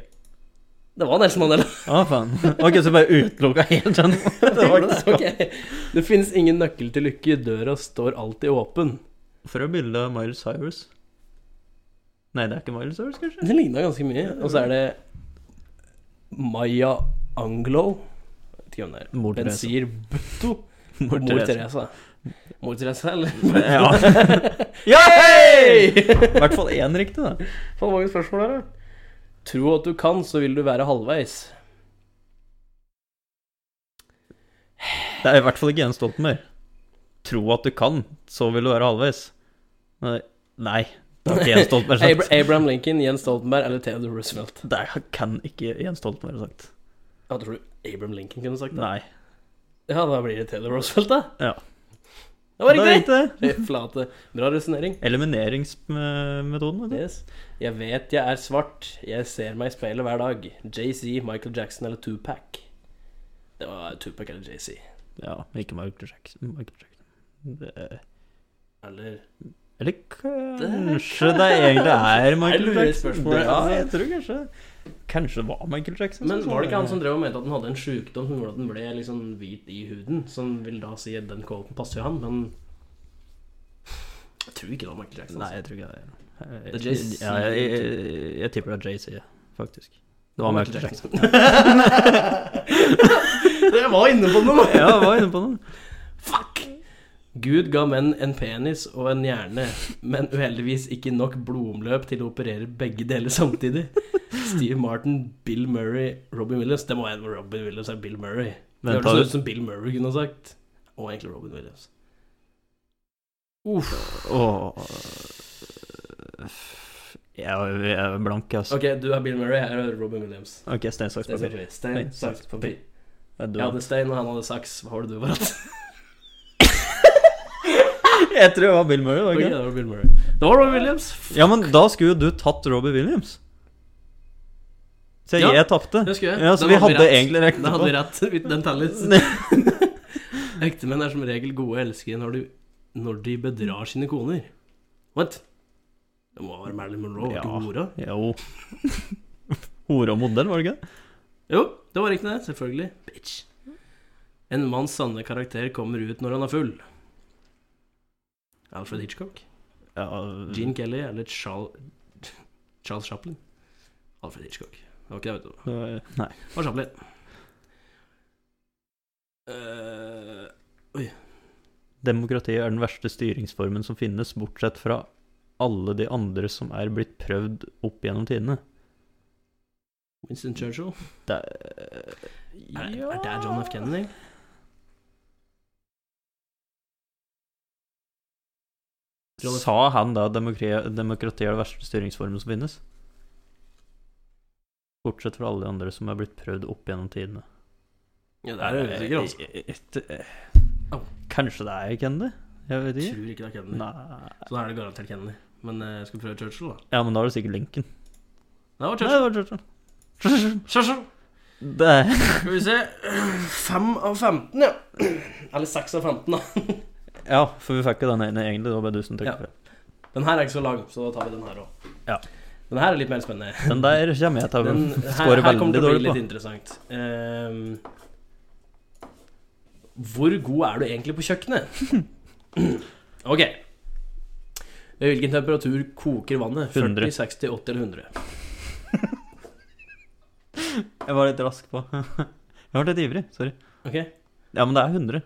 S1: Det var Nelson Mandela.
S2: Å, faen. Ok, så bare utelukka helt sånn. den. Det var ikke så-
S1: Ok. Det finnes ingen nøkkel til lykke, døra står alltid åpen.
S2: For å bilde av Miles Cyrus Nei, det er ikke Miles Cyrus, kanskje?
S1: Det ligna ganske mye. Og så er det Maya Anglo. Jeg vet ikke hvem det er.
S2: Mor Therese.
S1: Benzir Butto.
S2: Mor
S1: Mor
S2: Therese.
S1: Teresa. Mor Teresa, eller?
S2: Ja. ja hei! I hvert fall én riktig, da.
S1: Faen, mange spørsmål der, da. Tro at du kan, så vil du være halvveis.
S2: Det er i hvert fall ikke Jens Stoltenberg. Tro at du kan, så vil du være halvveis. Men Nei, det har ikke Jens Stoltenberg
S1: Abra
S2: sagt.
S1: Abraham Lincoln, Jens Stoltenberg eller Theodore Roosevelt?
S2: Det kan ikke Jens Stoltenberg ha sagt.
S1: Ja, tror du Abraham Lincoln kunne sagt det?
S2: Nei.
S1: Ja, da blir det Theodore Roosevelt, da.
S2: Ja.
S1: Det var
S2: Da
S1: riktig!
S2: gikk det.
S1: Fy flate. Bra resonnering.
S2: Elimineringsmetoden, vet du.
S1: Yes. Jeg vet jeg er svart, jeg ser meg i speilet hver dag. JC, Michael Jackson eller Tupac? Det var Tupac eller JC.
S2: Ja, ikke Michael Jackson. Michael Jackson. Det-
S1: Eller
S2: Eller kanskje det egentlig er
S1: Det er
S2: Michael
S1: lure
S2: Jackson.
S1: spørsmål,
S2: Ja,
S1: altså.
S2: jeg tror kanskje Kanskje det var Michael Jackson.
S1: Men var det ikke han som drev og mente at han hadde en sjukdom som gjorde at han ble liksom hvit i huden? Som vil da si at den kåpen passer jo han, men Jeg tror ikke det var Michael Jackson.
S2: Nei,
S1: altså.
S2: jeg tror ikke det. er-
S1: Det er Jay-Z.
S2: Ja, jeg, jeg, jeg tipper det er JC, faktisk. Det var Michael Jackson.
S1: Dere var inne på noe!
S2: Ja, jeg var inne på den.
S1: Fuck! Gud ga menn en penis og en hjerne, men uheldigvis ikke nok blodomløp til å operere begge deler samtidig. Steve Martin, Bill Murray, Robin Williams. Det må være Robin Williams er Bill Murray. Det
S2: Men
S1: høres
S2: tar,
S1: ut som Bill Murray kunne ha sagt. Og egentlig Robin Williams. Uff.
S2: Åh. Jeg jeg er blank, altså.
S1: Ok, du er Bill Murray, jeg er Robin Williams.
S2: Ok, stein, saks,
S1: Stein,
S2: papir.
S1: saks, Stein, saks, papir.
S2: Ja, du-
S1: Jeg hadde stein, og han hadde saks. Hva var det du var hatt?
S2: Jeg tror det var Bill Murray. var
S1: Ok,
S2: det
S1: det
S2: ikke?
S1: var Bill Murray. Det var Robin Williams.
S2: Ja, men da skulle jo du tatt Robbie Williams. Så
S1: Ja,
S2: jeg tapte.
S1: det skulle jeg.
S2: Ja,
S1: Da
S2: så vi
S1: hadde vi
S2: hadde
S1: rett.
S2: egentlig rekt
S1: Da hadde vi
S2: på.
S1: rett. Den telles. Ektemenn er som regel gode elskere når de, når de bedrar sine koner. What? Det må være Marilyn Monroe, var
S2: Ja.
S1: ikke hora?
S2: Jo. Hore og modell, var det ikke?
S1: Jo, det var riktig det. Selvfølgelig. Bitch. En manns sanne karakter kommer ut når han er full. Alfred Hitchcock,
S2: Ja,
S1: Gene Kelly eller Charles, Charles Chaplin? Alfred Hitchcock. Det var ikke det, vet du.
S2: det var- Nei.
S1: Og Chaplin. Eh,
S2: Demokratiet er den verste styringsformen som finnes, bortsett fra alle de andre som er blitt prøvd opp gjennom tidene.
S1: Winston Churchill?
S2: Det
S1: Er, er det John F. Kennedy? John F.
S2: Sa han da demokratiet, demokratiet er den verste styringsformen som finnes? Bortsett fra alle de andre som er blitt prøvd opp gjennom tidene.
S1: Ja, det er jeg usikker, altså. Au.
S2: Kanskje det er Kennedy? Jeg vet
S1: Jeg
S2: ikke.
S1: tror ikke det er Kennedy.
S2: Nei.
S1: Så da er det garantert Kennedy. Men eh, jeg skal prøve Churchill, da.
S2: Ja, men da er det sikkert Lincoln.
S1: Det var
S2: Nei,
S1: Churchill.
S2: det var Churchill.
S1: Churchill.
S2: Det er
S1: Skal vi se. Fem av 15, ja. Eller seks av 15, da.
S2: Ja, for vi fikk jo den ene egentlig, da ble du som
S1: Ja.
S2: trykket.
S1: Den her er ikke så lang, så da tar vi den her òg.
S2: Ja.
S1: Den her er litt mer spennende.
S2: Den der kommer jeg til å
S1: Den, her,
S2: score
S1: her kommer
S2: veldig
S1: det til å
S2: dårlig
S1: bli
S2: på.
S1: litt interessant. Ehm, hvor god er du egentlig på kjøkkenet? Ok. Ved hvilken temperatur koker vannet?
S2: 100.
S1: 40, 60, 80 eller 100?
S2: Jeg var litt rask på. Jeg var litt ivrig, sorry.
S1: Ok?
S2: Ja, men det er 100.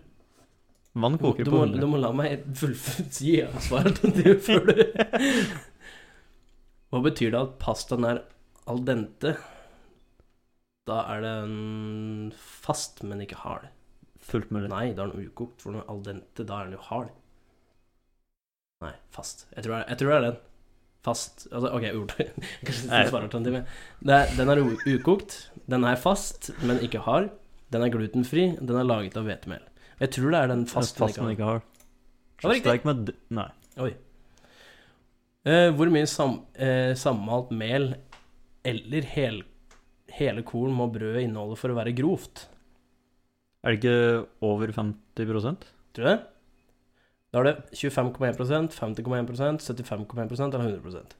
S2: Vann
S1: Du,
S2: koker
S1: du,
S2: på
S1: må,
S2: 100.
S1: du må la meg fullføre si svaret til du før du Hva betyr det at pastaen er al dente? Da er den fast, men ikke hard.
S2: Fullt mulig.
S1: Nei, da er den ukokt, for når den er al dente, da er den jo hard. Nei, fast. Jeg tror det er, jeg tror det er den. Fast Altså, OK, jeg gjorde det. Kanskje
S2: Nei.
S1: jeg svarer til en time. Det er, den er u- ukokt, den er fast, men ikke hard. Den er glutenfri, den er laget av hvetemel. Jeg tror det er den fast, men
S2: fast
S1: ikke
S2: man
S1: hard.
S2: ikke har.
S1: Det var riktig.
S2: Steik med d- Nei.
S1: Eh, hvor mye sam, eh, sammalt mel eller hel, hele korn må brødet inneholde for å være grovt?
S2: Er det ikke over 50
S1: Tror du det? Da er det 25,1 50,1 75,1 eller 100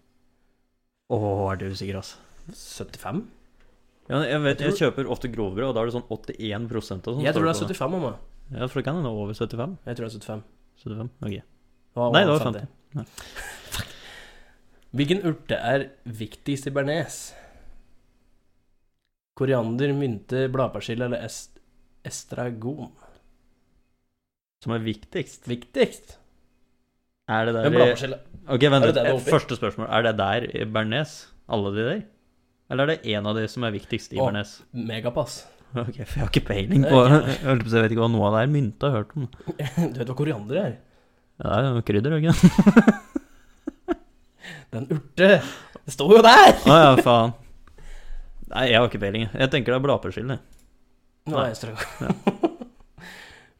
S2: Å, er du usikker, altså.
S1: 75?
S2: Ja, jeg, vet,
S1: Jeg
S2: jeg kjøper ofte grovbrød, og da er det sånn 81 og sånn.
S1: Jeg tror det er
S2: står på
S1: 75, mamma.
S2: Ja, for det kan hende det er over 75.
S1: Jeg tror det er 75.
S2: 75, ok.
S1: Hva
S2: Nei, det var
S1: 50.
S2: 50. Nei.
S1: Fuck. Hvilken urte er viktigst i bearnés? Koriander, mynte, bladpersille eller est estragon?
S2: Som er viktigst.
S1: Viktigst.
S2: Er det
S1: En
S2: der i
S1: bladforskjell.
S2: Ok, vent
S1: Er det der
S2: litt.
S1: det er
S2: Eh,
S1: oppi?
S2: Første spørsmål. Er det der i Bernes? Alle de der? Eller er det én av de som er viktigst i
S1: Å.
S2: Bernes?
S1: Megapass.
S2: Ok, for jeg har ikke peiling
S1: Eh,
S2: på
S1: ja.
S2: Jeg holdt på å si, jeg vet ikke hva noe av det er. Mynte har jeg hørt om.
S1: Du vet hva koriander er?
S2: Det er jo krydder, ikke sant?
S1: Det er en urte. Det står jo der!
S2: Å ja, faen. Nei, jeg har ikke peiling. Jeg tenker det er bladpersille.
S1: Nå
S2: Nei.
S1: er jeg strøm.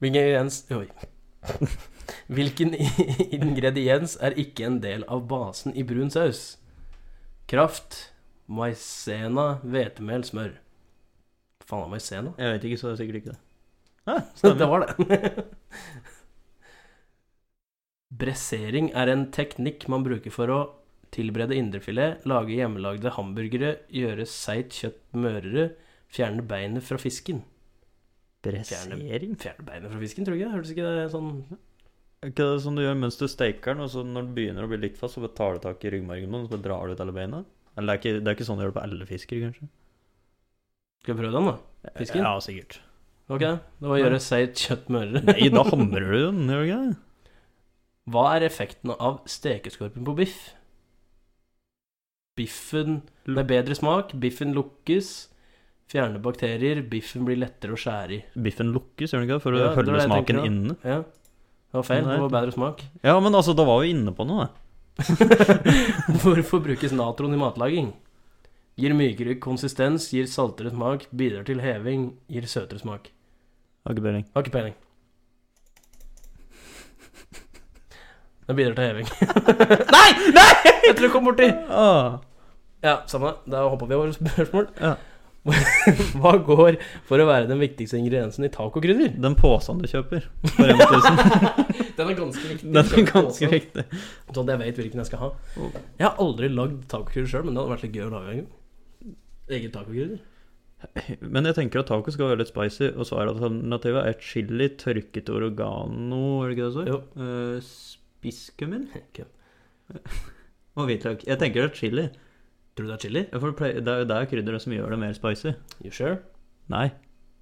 S1: Hvilken ingrediens Oi. Hvilken i- ingrediens er ikke en del av basen i brun saus? Kraft, maisena, hvetemel, smør. Faen, er maisena?
S2: Jeg vet ikke, så det er sikkert ikke det. Ja,
S1: Det
S2: stemmer.
S1: var det. Bressering er en teknikk man bruker for å tilberede indrefilet, lage hjemmelagde hamburgere, gjøre seigt kjøtt mørere, fjerne beinet fra fisken.
S2: Bressering?
S1: Fjerne beinet fra fisken, tror jeg. Hørtes ikke det sånn
S2: Er ikke det sånn du gjør mens du steker den, og så når den begynner å bli litt fast, så bare tar du tak i ryggmargen på den, så bare drar du ut alle beina? Eller det er ikke, det er ikke sånn du gjør det på alle fisker, kanskje?
S1: Skal vi prøve den, da? Fisken?
S2: Ja, sikkert.
S1: Ok, det var å gjøre seigt kjøtt mørere.
S2: Nei, da hamrer du den, gjør du ikke det?
S1: Hva er effekten av stekeskorpen på biff? Biffen med bedre smak, biffen lukkes, fjerner bakterier, biffen blir lettere å skjære i.
S2: Biffen lukkes, gjør den ikke det, for å
S1: Ja, det er
S2: holde
S1: det jeg tenker,
S2: smaken
S1: ja.
S2: inne?
S1: Ja, det var feil.
S2: Nei.
S1: Det var bedre smak.
S2: Ja, men altså, da var vi inne på noe, da.
S1: Hvorfor brukes natron i matlaging? Gir mykere konsistens, gir saltere smak, bidrar til heving, gir søtere smak.
S2: Har ikke peiling.
S1: Har ikke peiling. Den bidrar til heving. nei! Nei! Jeg tror jeg kom borti
S2: Ah,
S1: Ja, samme det. Da hoppa vi over spørsmål.
S2: Ja.
S1: Hva går for å være den viktigste ingrediensen i tacokrydder?
S2: den posen du kjøper for 1000,
S1: Den er ganske viktig.
S2: den er ganske viktig.
S1: Sånn at jeg vet hvilken jeg skal ha.
S2: Oh.
S1: Jeg har aldri lagd tacokrydder sjøl, men det hadde vært litt gøy å lage en gang. Eget tacokrydder.
S2: Men jeg tenker at taco skal være litt spicy, og så er alternativet er chili, tørket oregano, er det ikke det det
S1: Jo.
S2: står? Eh, Spisskummin
S1: Ok.
S2: og hvitløk. Jeg tenker det er chili.
S1: Tror du det er chili?
S2: Ja, For det pleier- det er jo det er krydderet som gjør det mer spicy.
S1: You sure?
S2: Nei.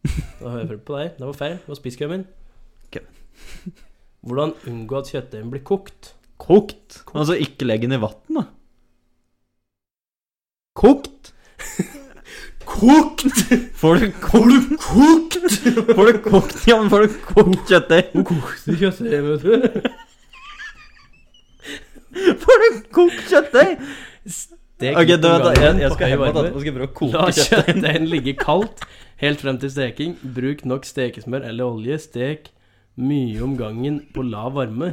S1: Da hører jeg prøvd på deg. Det var feil. Det var spiskummin.
S2: Ok.
S1: Hvordan unngå at kjøttdeigen blir kokt?
S2: Kokt. Altså ikke legg den i vann, da. Kokt!
S1: Kokt!
S2: Får du
S1: Har du kokt?
S2: Får du kokt, ja, men får du kokt kjøttdeig?
S1: Kokte kjøttdeig, vet du.
S2: Får du kokt kjøttdeig?
S1: Stek
S2: Ok, da, da, jeg, jeg
S1: på høy
S2: skal hjem og
S1: varme.
S2: ta- og skal
S1: La
S2: prøve å koke kjøttdeig.
S1: kjøttdeigen ligge kaldt helt frem til steking. Bruk nok stekesmør eller olje. Stek mye om gangen på lav varme.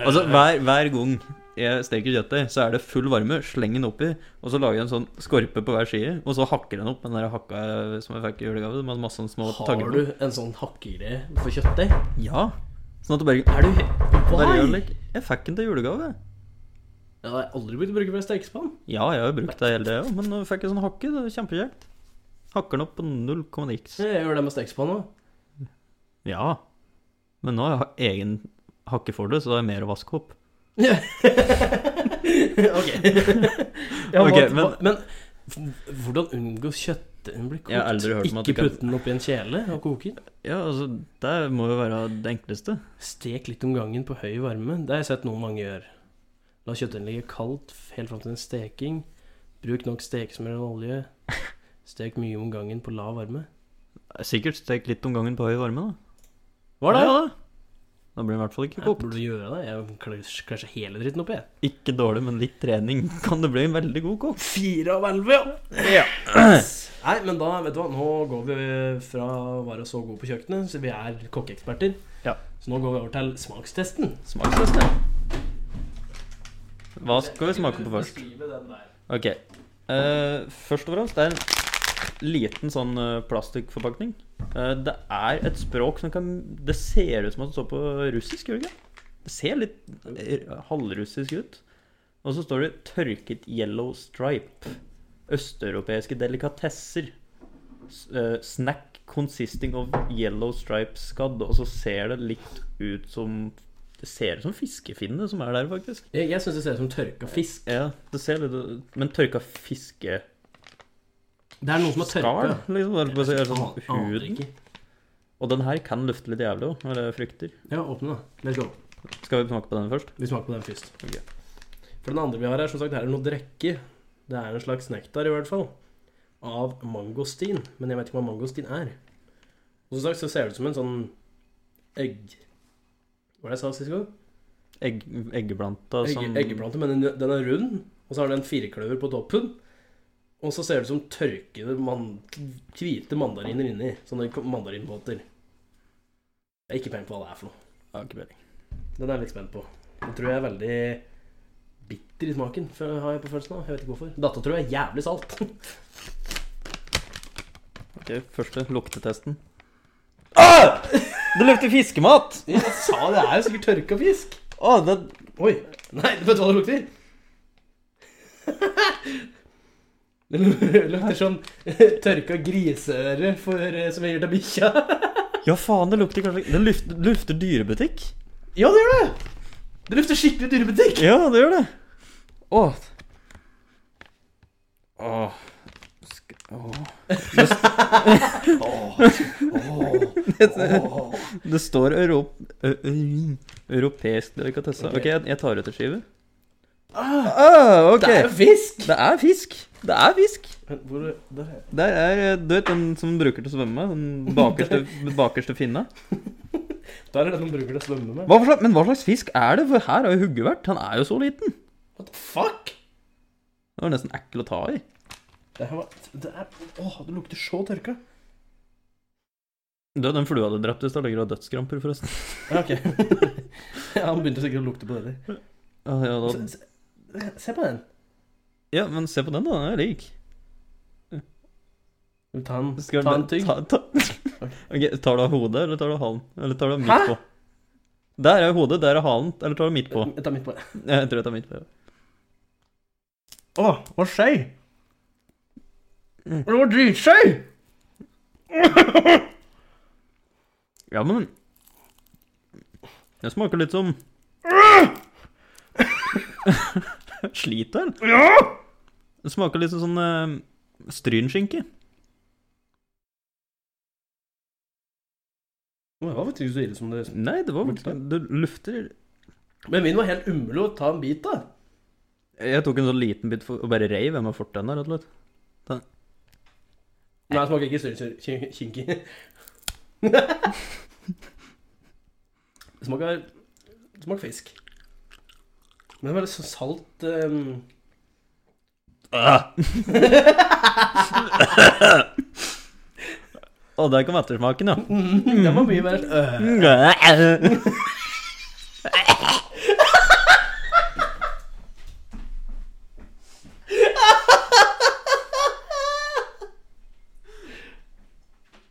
S2: Altså, hver, hver gang jeg steker kjøttdeig, så er det full varme, sleng den oppi, og så lager jeg en sånn skorpe på hver side, og så hakker den opp med den der hakka som jeg fikk i julegave, med masse sånne små
S1: Har
S2: tagger på.
S1: du en sånn hakkegreie for kjøttdeig?
S2: Ja. Sånn at du bare Er du
S1: Why?
S2: he- Der gjør den litt- Jeg fikk den til julegave.
S1: Ja, det har jeg aldri begynt å bruke for å steke spann.
S2: Ja, jeg har jo brukt det hele tida, men nå fikk jeg sånn hakke, det er kjempekjekt. Hakker den opp på null komma niks.
S1: Jeg gjør det med stekespann òg.
S2: Ja, men nå har jeg egen hakke for det, så det er mer å vaske opp.
S1: ok. Ja,
S2: Ok,
S1: hva-
S2: men-
S1: hva- men f- hvordan unngå kjøttdeigen blir kokt?
S2: Jeg har aldri hørt om at du
S1: Ikke
S2: kan-
S1: putte den oppi en kjele og koke den.
S2: Ja, altså, det må jo være det enkleste.
S1: Stek litt om gangen på høy varme. Det har jeg sett noen mange gjøre. La kjøttdeigen ligge kaldt helt fram til en steking. Bruk nok stekesmør og olje. Stek mye om gangen på lav varme.
S2: Sikkert stek litt om gangen på høy varme, da.
S1: Var det?
S2: Ja, da. Da blir den i hvert fall ikke
S1: Jeg
S2: kokt.
S1: burde gjøre det. Jeg klæsj- klæsjer hele dritten oppi. jeg.
S2: Ikke dårlig, men litt trening kan det bli en veldig god kokk.
S1: Fire av elleve, ja. Nei, men da, vet du hva, nå går vi fra å være så gode på kjøkkenet, så vi er kokkeeksperter.
S2: Ja.
S1: Så nå går vi over til smakstesten.
S2: Smakstest, ja. Hva skal vi smake på først?
S1: Beskrive den der.
S2: Ok. Eh, først og fremst, det er en liten sånn eh, plastikkforpakning. Eh, det er et språk som kan Det ser ut som at det står på russisk, gjør det ikke? Det ser litt eh, halvrussisk ut. Og så står det 'tørket yellow stripe'. Østeuropeiske delikatesser. S eh, snack consisting of yellow stripe scud. Og så ser det litt ut som Det ser ut som fiskefinne som er der, faktisk.
S1: Jeg, jeg syns det ser ut som tørka fisk.
S2: Ja, det ser litt ut Men tørka fiske
S1: Det er noen som har
S2: Skall,
S1: tørka.
S2: liksom? Eller på å si, er det
S1: Aner
S2: sånn huden?
S1: ikke.
S2: Og den her kan lufte litt jævlig òg, når jeg frykter.
S1: Ja, åpne, da. Let's go.
S2: Skal vi smake på den først?
S1: Vi smaker på den først.
S2: Ok.
S1: For den andre vi har her, som sagt, her er noe drikke. Det er en slags nektar, i hvert fall. Av mangostin. Men jeg vet ikke hva mangostin er. Og som sagt så ser det ut som en sånn egg Hva var det jeg sa sist gang?
S2: Egg, eggeplanta
S1: Egg,
S2: som
S1: Eggeplante, men den, den er rund. Og så har den en firkløver på toppen. Og så ser det ut som tørkede man, hvite mandariner inni. Sånne mandarinbåter. Jeg er ikke peiling på hva det er for noe.
S2: Ja, ikke peiling.
S1: Den er jeg litt spent på. Den tror jeg er veldig bitter i smaken, for- har jeg på følelsen av. Jeg vet ikke hvorfor. Dette tror jeg er jævlig salt.
S2: Ok, første luktetesten. Ah! Det lukter fiskemat!
S1: Jeg sa det er jo sikkert tørka fisk.
S2: Å, det
S1: Oi. Nei, vet du hva det lukter? Det lu- lukter som tørka griseøre for, eh, som jeg gir til bikkja.
S2: Ja, faen, det lukter kanskje Det lufter, lufter dyrebutikk.
S1: Ja, det gjør det! Det lukter skikkelig dyrebutikk.
S2: Ja, det gjør det. Å. Å. Sk- Å. Det står europ... ø- ø- europeisk delikatesse.
S1: Ok.
S2: Ok, jeg, jeg tar ut en skive. Ah, ok.
S1: Det er jo fisk!
S2: Det er fisk. Det er fisk.
S1: Hvor, der er jeg.
S2: Der er eh, Du vet den som bruker til å svømme? Den bakerste, bakerste finna?
S1: Der er det man bruker til å svømme med.
S2: Hva for slags, men hva slags fisk er det? For her har jo huggevert. Han er jo så liten.
S1: What the fuck?
S2: Det var nesten ekkel å ta i.
S1: Det her var det er, Åh, det lukter så tørka.
S2: Du, den flua du drepte i stad, ligger av dødskramper, forresten.
S1: Ja, ok. ja, han begynte sikkert å lukte på det der.
S2: Ja, ja, da.
S1: Se, se, se på den.
S2: ja, men se på den, da. Den er lik.
S1: Ta en,
S2: Skal
S1: ta
S2: du-
S1: en tygg.
S2: Ta, ta. Ok, Tar du av hodet, eller tar du av halen? Eller tar du av
S1: Hæ?
S2: midt på? Der er hodet, der er halen. Eller tar du midt på?
S1: Jeg tar midt på.
S2: Jeg tror jeg tar midt på. ja.
S1: Åh, hva skjer?
S2: Mm.
S1: Det var dritskjøy!
S2: Ja, men Det smaker litt som Sliter? Ja! Det smaker litt som sånn eh, strynskinke.
S1: Det var faktisk ikke så ille som det
S2: Nei, det var Det lufter
S1: Men min var helt umulig å ta en bit av.
S2: Jeg tok en sånn liten bit for, og bare reiv av meg fortenna, rett og slett.
S1: Nei, det smaker ikke syrkinki. Det smaker Det smaker fisk. Men det er veldig så salt ehm,
S2: Ah. Å, der kom ettersmaken, ja.
S1: Den var mye mer øh.
S2: Å,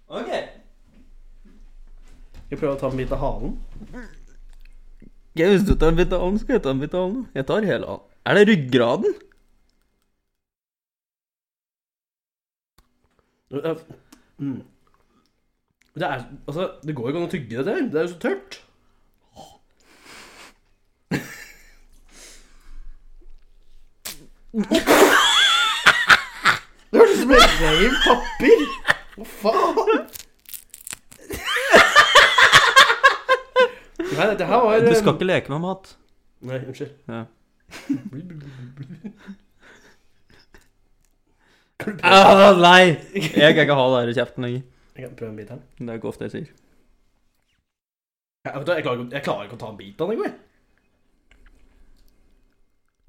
S1: Ok. Jeg prøver å ta en bit av halen.
S2: Jeg visste ikke at jeg bytta halen. Skal jeg ta en bit av halen? Jeg tar hele halen. Er det ryggraden?
S1: Øh, Mm. Det er Altså, det går jo ikke an å tygge det der. Det er jo så tørt. Det hørtes ut som et rev papir. Hva faen? Nei, dette her var eh,
S2: Du skal ikke leke med mat.
S1: Nei, unnskyld.
S2: Ja.
S1: Kan du prøve,
S2: Ah, nei! Jeg kan ikke ha det her i kjeften lenger.
S1: jeg kan prøve en bit her?
S2: Det er ikke ofte jeg sier.
S1: Jeg, vet du, jeg, klarer, ikke- jeg klarer ikke å ta en bit av den engang.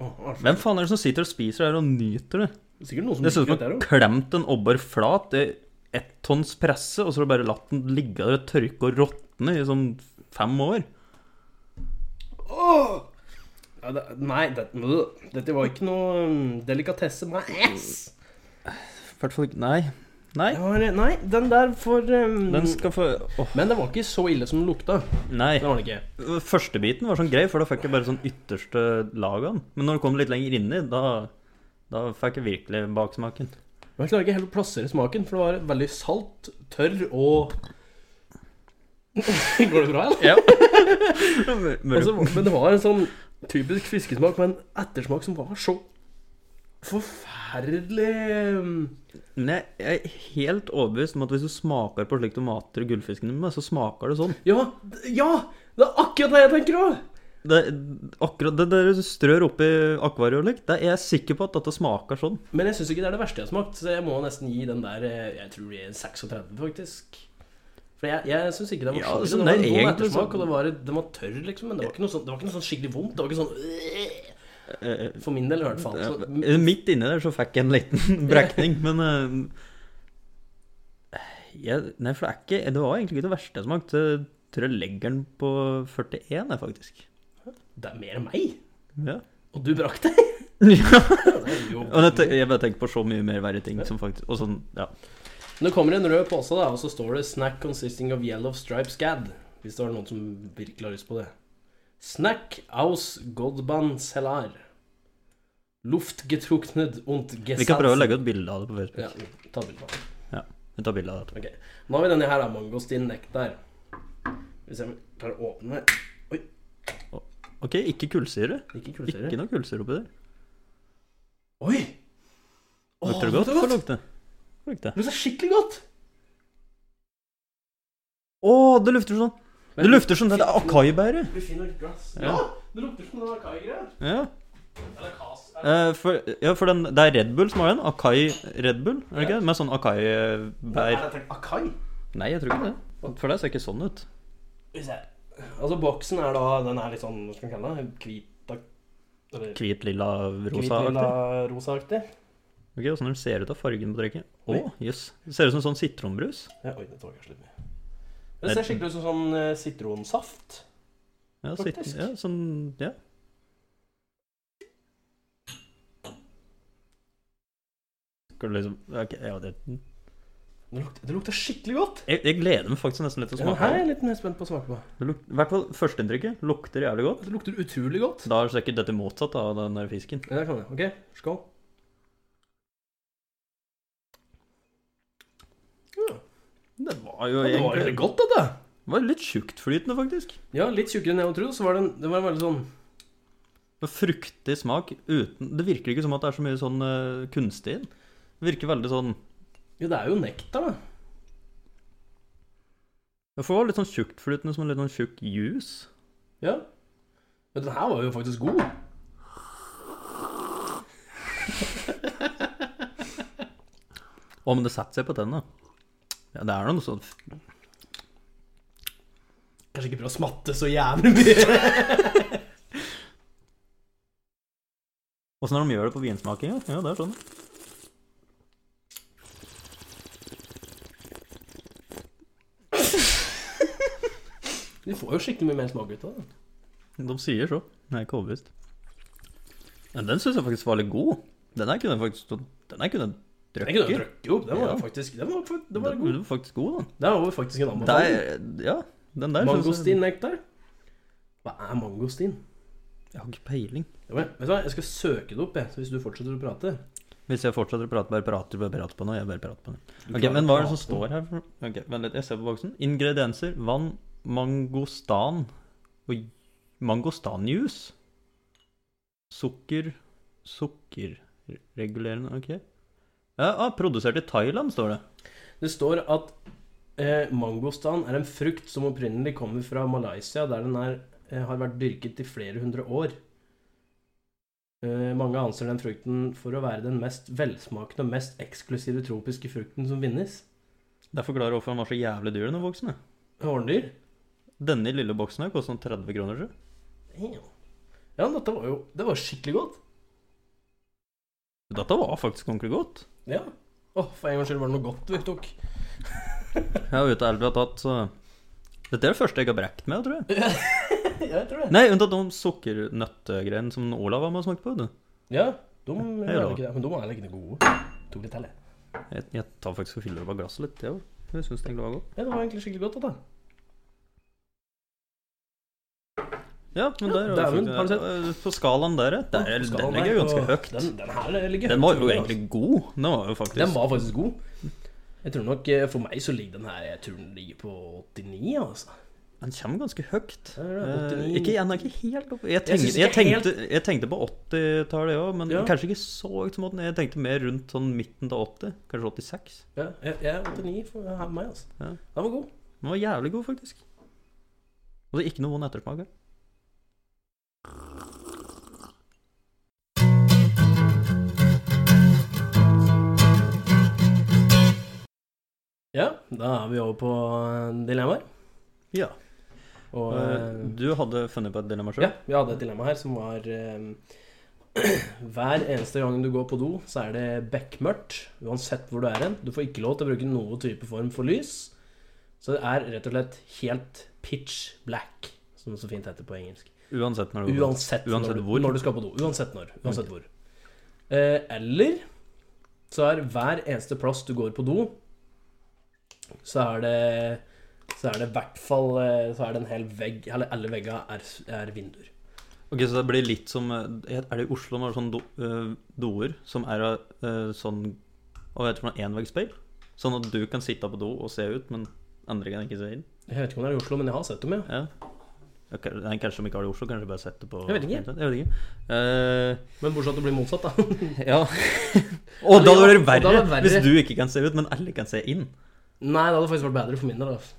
S1: Åh, altså.
S2: Hvem faen er det som sitter og spiser her og nyter det?
S1: Det er Sikkert noen som
S2: Det ser ut
S1: liker
S2: som
S1: dette her
S2: man
S1: også.
S2: klemt en obber flat i ett tonns presse, og så har du bare latt den ligge der og tørke og råtne i sånn fem år.
S1: Åh! Ja, det, nei, det, øh, dette var ikke noe um, delikatesse. Nei, ass.
S2: I hvert fall ikke Nei. Nei.
S1: Det var- eh, nei, den der for um,
S2: Den skal få Åh,
S1: Men det var ikke så ille som den lukta.
S2: nei.
S1: Det var den ikke.
S2: Førstebiten var sånn grei, for da fikk jeg bare sånn ytterste lag av den. Men når det kom litt lenger inni, da, da fikk jeg virkelig baksmaken.
S1: Men jeg klarer ikke helt å plassere smaken, for det var veldig salt, tørr og Går det bra, eller?
S2: Ja.
S1: Og så- men det var en sånn typisk fiskesmak med en ettersmak som var så forferdelig um, forferdelig
S2: Men jeg, jeg er helt overbevist om at hvis du smaker på slik du mater gullfiskene med, så smaker det sånn.
S1: Ja! d- Ja! Det er akkurat det jeg tenker òg!
S2: Det, akkurat det dere strør oppi akvariet og likt, det er jeg sikker på at dette smaker sånn.
S1: Men jeg syns ikke det er det verste jeg har smakt, så jeg må nesten gi den der eh, Jeg tror det er 36, faktisk. For jeg, jeg syns ikke det var
S2: Ja,
S1: skikkelig.
S2: altså,
S1: det var en
S2: det er
S1: vond
S2: egentlig
S1: ettersmak,
S2: sånn-
S1: og det var, den var tørr, liksom. Men det var ikke noe sånn, det var ikke noe sånn skikkelig vondt. Det var ikke sånn øh,
S2: Eh,
S1: For min del, i hvert fall. Så,
S2: eh, Midt inni der så fikk jeg en liten brekning, men eh, jeg, Nei, for det er ikke Det var egentlig ikke det verste jeg smakte. Jeg tror jeg legger den på 41, jeg, faktisk.
S1: det er mer enn meg!
S2: Ja.
S1: Og du brakk deg!
S2: ja.
S1: Det er jo-
S2: Og jeg, tenker, jeg bare tenker på så mye mer verre ting som faktisk Og sånn, ja.
S1: Men det kommer en rød pose, da, og så står det 'Snack consisting of yellow stripe scad'. Hvis det var noen som virkelig har lyst på det. Snack aus Godban Selar. Luftgetruknet und
S2: Vi kan prøve å
S1: gesalzen.
S2: legge ut bilde av det på Facebook.
S1: Ja, ta bilde av det.
S2: Vi tar bilde av det.
S1: Ok. Nå har vi denne her, da, mangostin nektar. Hvis jeg klarer å åpne
S2: Ok, ikke kullsyre.
S1: Ikke
S2: Ikke
S1: kullsyre.
S2: noe kullsyre oppi der.
S1: Oi! Åh,
S2: Lukter det godt? Hva
S1: Det
S2: lukter det? Hva lukter det?
S1: lukter skikkelig godt!
S2: Å, det lukter sånn. Det lukter sånn, det er akaibæret.
S1: Vi finner et glass.
S2: Ja.
S1: Ja, det lukter som den akai-greia.
S2: Ja.
S1: Eller kas.
S2: Eh, for, ja, for den, det er Red Bull som har den. Akai Red Bull, er det ikke? det? Med sånn
S1: Er
S2: akai-bær.
S1: dette akai?
S2: Nei, jeg tror ikke det. For det ser ikke sånn ut.
S1: Hvis jeg Altså, boksen er da Den er litt sånn, hva skal man kalle det? Hvit Eller
S2: Hvit, lilla, rosa-aktig.
S1: hvit-lilla-rosaaktig.
S2: Ok, Åssen den ser ut av fargen på drikket. Å,
S1: Oi.
S2: jøss. Det ser ut som sånn sitronbrus.
S1: Ja, oi, dette var kanskje litt mye. Det ser skikkelig ut som sånn eh, sitronsaft.
S2: Ja, sit,
S1: Faktisk.
S2: ja, sånn, ja. Skal du liksom Ok, ja, det
S1: Det lukter, det lukter skikkelig godt.
S2: jeg, jeg gleder meg faktisk nesten litt til å
S1: Ja,
S2: smake.
S1: her er
S2: det.
S1: jeg litt mer spent på å smake på.
S2: Det luk- I hvert fall førsteinntrykket lukter jævlig godt.
S1: Det lukter utrolig godt.
S2: Da er sikkert dette motsatt av den der fisken.
S1: Ja, det kan jeg. Ok, skål.
S2: Det var jo
S1: det var
S2: egentlig
S1: veldig godt, dette.
S2: det var litt tjuktflytende, faktisk.
S1: Ja, litt tjukkere enn jeg trodde, så var det, en, det var en veldig sånn
S2: Med fruktig smak uten Det virker ikke som at det er så mye sånn eh, kunstig i den. Det virker veldig sånn
S1: Jo, det er jo nektar, da.
S2: Det får litt sånn tjuktflytende som en litt sånn tjukk juice.
S1: Ja. Men den her var jo faktisk god.
S2: Å, men det setter seg på tennene. Ja, det er noe sånn
S1: Kanskje ikke prøve å smatte så jævlig mye.
S2: Åssen er det de gjør det på vinsmakinga? Ja, det er sånn.
S1: Du får jo skikkelig mye mer smak ut av det.
S2: De sier så. Det er ikke overbevist. Men den syns jeg faktisk var litt god. Den her kunne jeg faktisk Den her kunne jeg
S1: Jeg kunne
S2: drukket.
S1: drukket opp. Den var
S2: Ja.
S1: faktisk den var, fa- den var
S2: Den
S1: god.
S2: var faktisk god, da.
S1: Det sånn- var faktisk en
S2: Det
S1: anbefaling.
S2: er, ja, den der synes jeg
S1: Mangostin-nektar. Hva er mangostin?
S2: Jeg har ikke peiling.
S1: Ja, men, vet du hva, jeg skal søke det opp, jeg, så hvis du fortsetter å prate.
S2: Hvis jeg fortsetter å prate, bare prater, bare prater på noe, jeg bare prater på noe.
S1: Du
S2: Ok,
S1: klarer
S2: Men
S1: å
S2: hva er det som
S1: prate.
S2: står her? for- Ok, Vent litt, jeg ser på boksen. Ingredienser. Vann, mangostan og mangostanjuice. Sukker Sukkerregulerende Ok. Ja, ah, produsert i Thailand, står det.
S1: Det står at eh, mangostan er en frukt som opprinnelig kommer fra Malaysia, der den er, eh, har vært dyrket i flere hundre år. Eh, mange anser den frukten for å være den mest velsmakende og mest eksklusive tropiske frukten som finnes.
S2: Det forklarer hvorfor den var så jævlig dyr, denne boksen. ja.
S1: Horndyr?
S2: Denne lille boksen her koster sånn 30 kroner. tror jeg.
S1: Ja, dette var jo det var skikkelig godt.
S2: Dette var faktisk ordentlig godt.
S1: Ja. Åh, for en gangs skyld var det noe godt vi tok.
S2: Jeg er ute og har tatt så Dette er det første jeg har brekt med, tror jeg.
S1: jeg tror det.
S2: Nei, unntatt de sukkernøttegreiene som Olav var med og smakte på. Du.
S1: Ja, de
S2: Hei,
S1: er
S2: da.
S1: ikke det. Men de er ikke noe gode. Tok litt til, jeg.
S2: Jeg, jeg tar faktisk og fyller opp av glasset litt, jeg òg. Jeg syns det egentlig var godt.
S1: Ja, det var egentlig skikkelig godt, dette.
S2: Ja, men der
S1: Ja,
S2: har vi
S1: dæven, har du sett?
S2: faktisk- eh, På skalaen der, ja. Der,
S1: På skalaen
S2: den ligger jo
S1: der,
S2: ganske
S1: og
S2: høyt.
S1: Den, den her ligger
S2: Den var
S1: høyt,
S2: jo
S1: tror jeg,
S2: egentlig god. Den var jo faktisk
S1: altså. Den var faktisk god. Jeg tror nok eh, For meg så ligger den her Jeg tror den ligger på 89, altså.
S2: Den kommer ganske høyt.
S1: Ja, det er det.
S2: Eh,
S1: 89.
S2: Ikke, den er ikke helt oppe. Jeg,
S1: Jeg
S2: tenk,
S1: synes
S2: jeg,
S1: ikke
S2: tenkte, jeg tenkte på 80-tallet òg, men
S1: Ja.
S2: kanskje ikke så høyt som 80. Jeg tenkte mer rundt sånn midten av 80, kanskje 86.
S1: Ja, jeg, jeg er 89 for meg, altså.
S2: Ja.
S1: Den var god.
S2: Den var jævlig god, faktisk. Og det er ikke noe vond ettersmak. her.
S1: Ja, da er vi over på eh, dilemmaer.
S2: Ja.
S1: Og
S2: Eh,
S1: eh,
S2: Du hadde funnet på et dilemma sjøl?
S1: ja, vi hadde et dilemma her som var eh, Hver eneste gang du går på do, så er det bekmørkt. Uansett hvor du er hen. Du får ikke lov til å bruke noen type form for lys. Så det er rett og slett helt pitch black, som det så fint heter på engelsk.
S2: Uansett når du går.
S1: Uansett,
S2: Uansett
S1: når,
S2: hvor.
S1: når du skal på do. Uansett når. Uansett hvor. Eh, eller så er hver eneste plass du går på do, så er det så er det i hvert fall eh, Så er det en hel vegg Eller alle veggene er, er vinduer.
S2: Ok, Så det blir litt som eh, Er det i Oslo når det er sånne do, eh, doer som er av eh, sånn Hva heter det for noe? Enveisspeil? Sånn at du kan sitte på do og se ut, men andre kan ikke se inn?
S1: Jeg vet ikke om det er i Oslo, men jeg har sett dem, ja.
S2: Ja. Ok, Nei, kanskje de ikke har det i Oslo. Kanskje de bare setter på
S1: Jeg vet ikke.
S2: Jeg vet ikke. Eh,
S1: Men bortsett fra at det blir motsatt, da.
S2: ja. og da
S1: Eller, ja,
S2: blir det
S1: og da
S2: verre,
S1: er det verre.
S2: hvis du ikke kan se ut, men alle kan se inn.
S1: Nei, det hadde faktisk vært bedre for min del. Altså.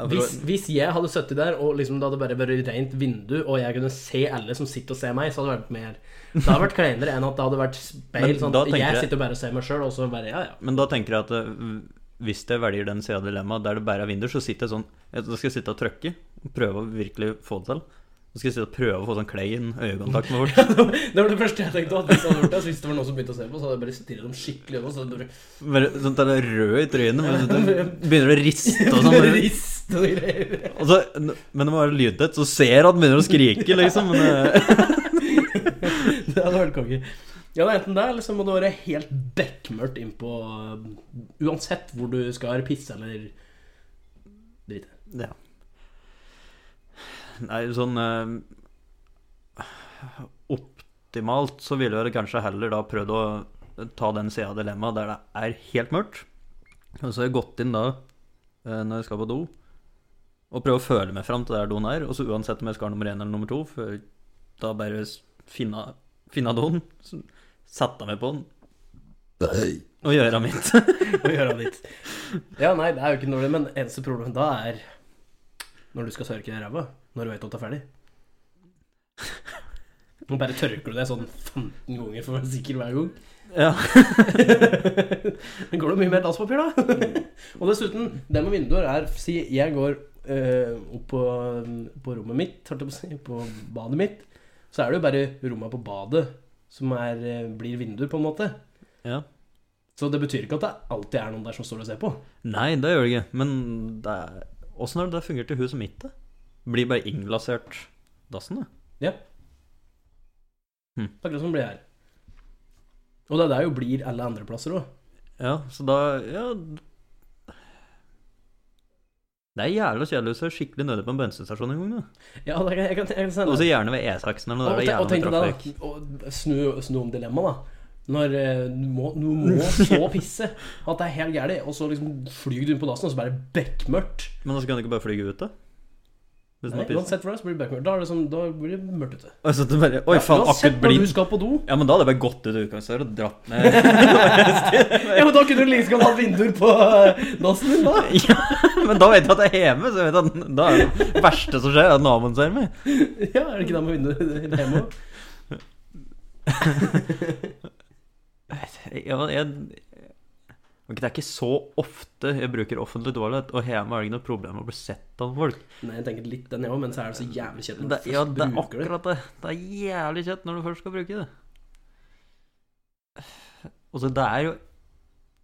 S2: Ja, for-
S1: Hvis, hvis jeg hadde sittet der, og liksom det hadde bare vært rent vindu, og jeg kunne se alle som sitter og ser meg, så hadde det vært mer Det hadde vært kleinere enn at det hadde vært speil.
S2: Men
S1: Sånn,
S2: da
S1: at
S2: tenker
S1: jeg
S2: jeg-
S1: sitter bare og ser meg sjøl, og så bare Ja, ja.
S2: Men da tenker jeg at eh, hvis jeg velger den sida av dilemmaet der det bare er vinduer, så sitter jeg sånn jeg- Da skal jeg sitte og trykke og prøve å virkelig få det til. Så skal jeg sitte og prøve å få sånn klein øyekontakt med folk.
S1: Det var det første jeg tenkte. At hvis, jeg hadde gjort det, så hvis det var noen som begynte å se på, så hadde jeg bare stirret dem skikkelig over. Så hadde jeg
S2: Bare Sånn at det er rød i trynet, men du begynner å riste og
S1: bare
S2: sånn.
S1: rist og greier.
S2: Og så, men det må være lydtett, så ser at den begynner å skrike, liksom. Men, eh,
S1: Det hadde vært konge. Ja, det er enten det, eller så må det være helt bekmørkt innpå øh, Uansett hvor du skal pisse eller drite.
S2: ja. Nei, sånn eh, Optimalt så ville jeg kanskje heller da prøvd å ta den sida av dilemmaet der det er helt mørkt. Og så har jeg gått inn da, eh, når jeg skal på do, og prøvd å føle meg fram til der doen er. Og så uansett om jeg skal ha nummer én eller nummer to, for da bare s- finne, finne doen, så sette meg på den og gjøre mitt.
S1: Og gjøre det ditt. Ja, nei, det er jo ikke noe men eneste problemet da er når du skal sørke deg i ræva. Når du vet at det er ferdig. Nå bare tørker du deg sånn 15 ganger for å være sikker hver gang.
S2: ja.
S1: Men går det mye mer dasspapir, da? og dessuten, det med vinduer er Si jeg går eh, opp på, på rommet mitt, holdt jeg på å si, på badet mitt, så er det jo bare rommene på badet som er, eh, blir vinduer, på en måte.
S2: ja.
S1: Så det betyr ikke at det alltid er noen der som står og ser på.
S2: Nei, det gjør det ikke. Men det er... åssen har det fungert i huset mitt? da? Blir bare innglasert dassen, det.
S1: Akkurat som det blir her. Og det er der jo blir alle andre plasser òg.
S2: Ja, så da Ja. Det er jævla kjedelig hvis du er skikkelig nede på en bensinstasjon en gang. da.
S1: Ja, det kan, jeg kan, jeg kan sende
S2: Og så gjerne ved E6 eller noe
S1: Og,
S2: der det
S1: ten- og
S2: er jævla
S1: tenk
S2: mye
S1: deg
S2: trafikk.
S1: da, og snu, snu om dilemmaet, da. Når eh, du må, du må så pisse at det er helt gærent, og så liksom flyr du inn på dassen, og så bare bekmørkt.
S2: Men da kan du ikke bare flyge ut, da? Hvis
S1: Nei,
S2: man pisser.
S1: Uansett hvor det er, så blir det bekmørkt. Da, er det sånn, da blir det mørkt ute.
S2: Og så at du Altså, bare, Oi, faen,
S1: Uansett
S2: akkurat
S1: når
S2: blir
S1: du skal på do.
S2: Ja, men da hadde jeg bare gått ut utgangsdøra og dratt med
S1: Ja, men Da kunne du like liksom hatt vinduer på eh, dassen din, da.
S2: Ja, men da vet jeg at jeg er hjemme, så jeg vet at da er det verste som skjer, at naboen ser meg.
S1: Ja, Er det ikke det med vinduer hjemme òg?
S2: Ja, men jeg Ok, Det er ikke så ofte jeg bruker offentlig toalett, og hjemme er det ikke noe problem med å bli sett av folk.
S1: Nei, jeg tenker litt den jeg òg, men så er det så jævlig kjedelig
S2: Det,
S1: når du
S2: ja,
S1: først
S2: det er
S1: bruker det.
S2: akkurat det. Det er jævlig kjett når du først skal bruke det. Og så Altså, det er jo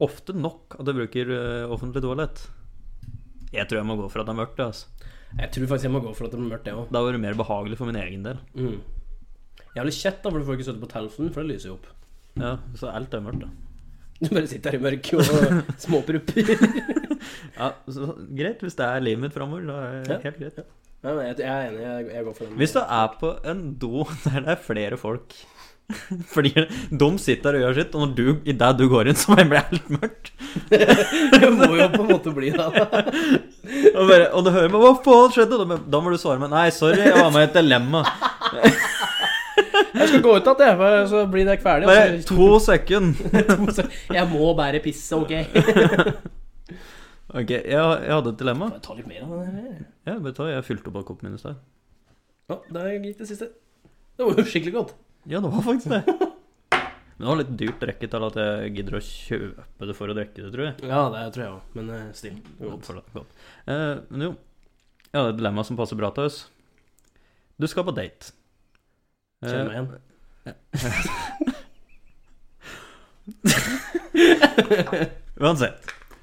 S2: ofte nok at jeg bruker eh, offentlig toalett. Jeg tror jeg må gå for at det er mørkt. Altså.
S1: Jeg tror faktisk jeg må gå for at det blir mørkt, jeg òg.
S2: Det har vært mer behagelig for min egen del.
S1: Mm. Jævlig kjett, da, for du får ikke sitte på telefonen, for det lyser jo opp.
S2: Ja, Så alt er mørkt, da.
S1: Du bare sitter her i mørket og småprupper.
S2: Ja, så, greit, hvis det er livet mitt framover, da er det
S1: Ja.
S2: helt greit.
S1: Nei, nei, jeg jeg er enig. Jeg, jeg går for den.
S2: Hvis du er på en do der det er flere folk Fordi de sitter der og gjør sitt, og når du, i det du går inn, så bare blir det helt mørkt.
S1: Det må jo på en måte bli det. da.
S2: Og, bare, og du hører meg, hva faen skjedde? Da, da må du svare meg, nei, sorry, jeg var med i et dilemma.
S1: Jeg skal gå ut igjen, jeg, så blir dere ferdig.
S2: Bare
S1: og så-
S2: to sekunder.
S1: Jeg må bare pisse, OK?
S2: Ok, jeg, jeg hadde et dilemma.
S1: Bare ta litt mer av den her.
S2: Ja, vet du hva, jeg fylte opp av koppen min i sted.
S1: Ja, der gikk det siste. Det var jo skikkelig godt.
S2: Ja, det var faktisk det. Men det var litt dyrt drikke til at jeg gidder å kjøpe det for å drikke det, tror jeg.
S1: Ja, det tror jeg òg, men eh, still.
S2: Godt for det, godt. Eh, men jo, jeg hadde et dilemma som passer bra til oss. Du skal på date. Eh,
S1: Kjenn meg igjen.
S2: Uansett.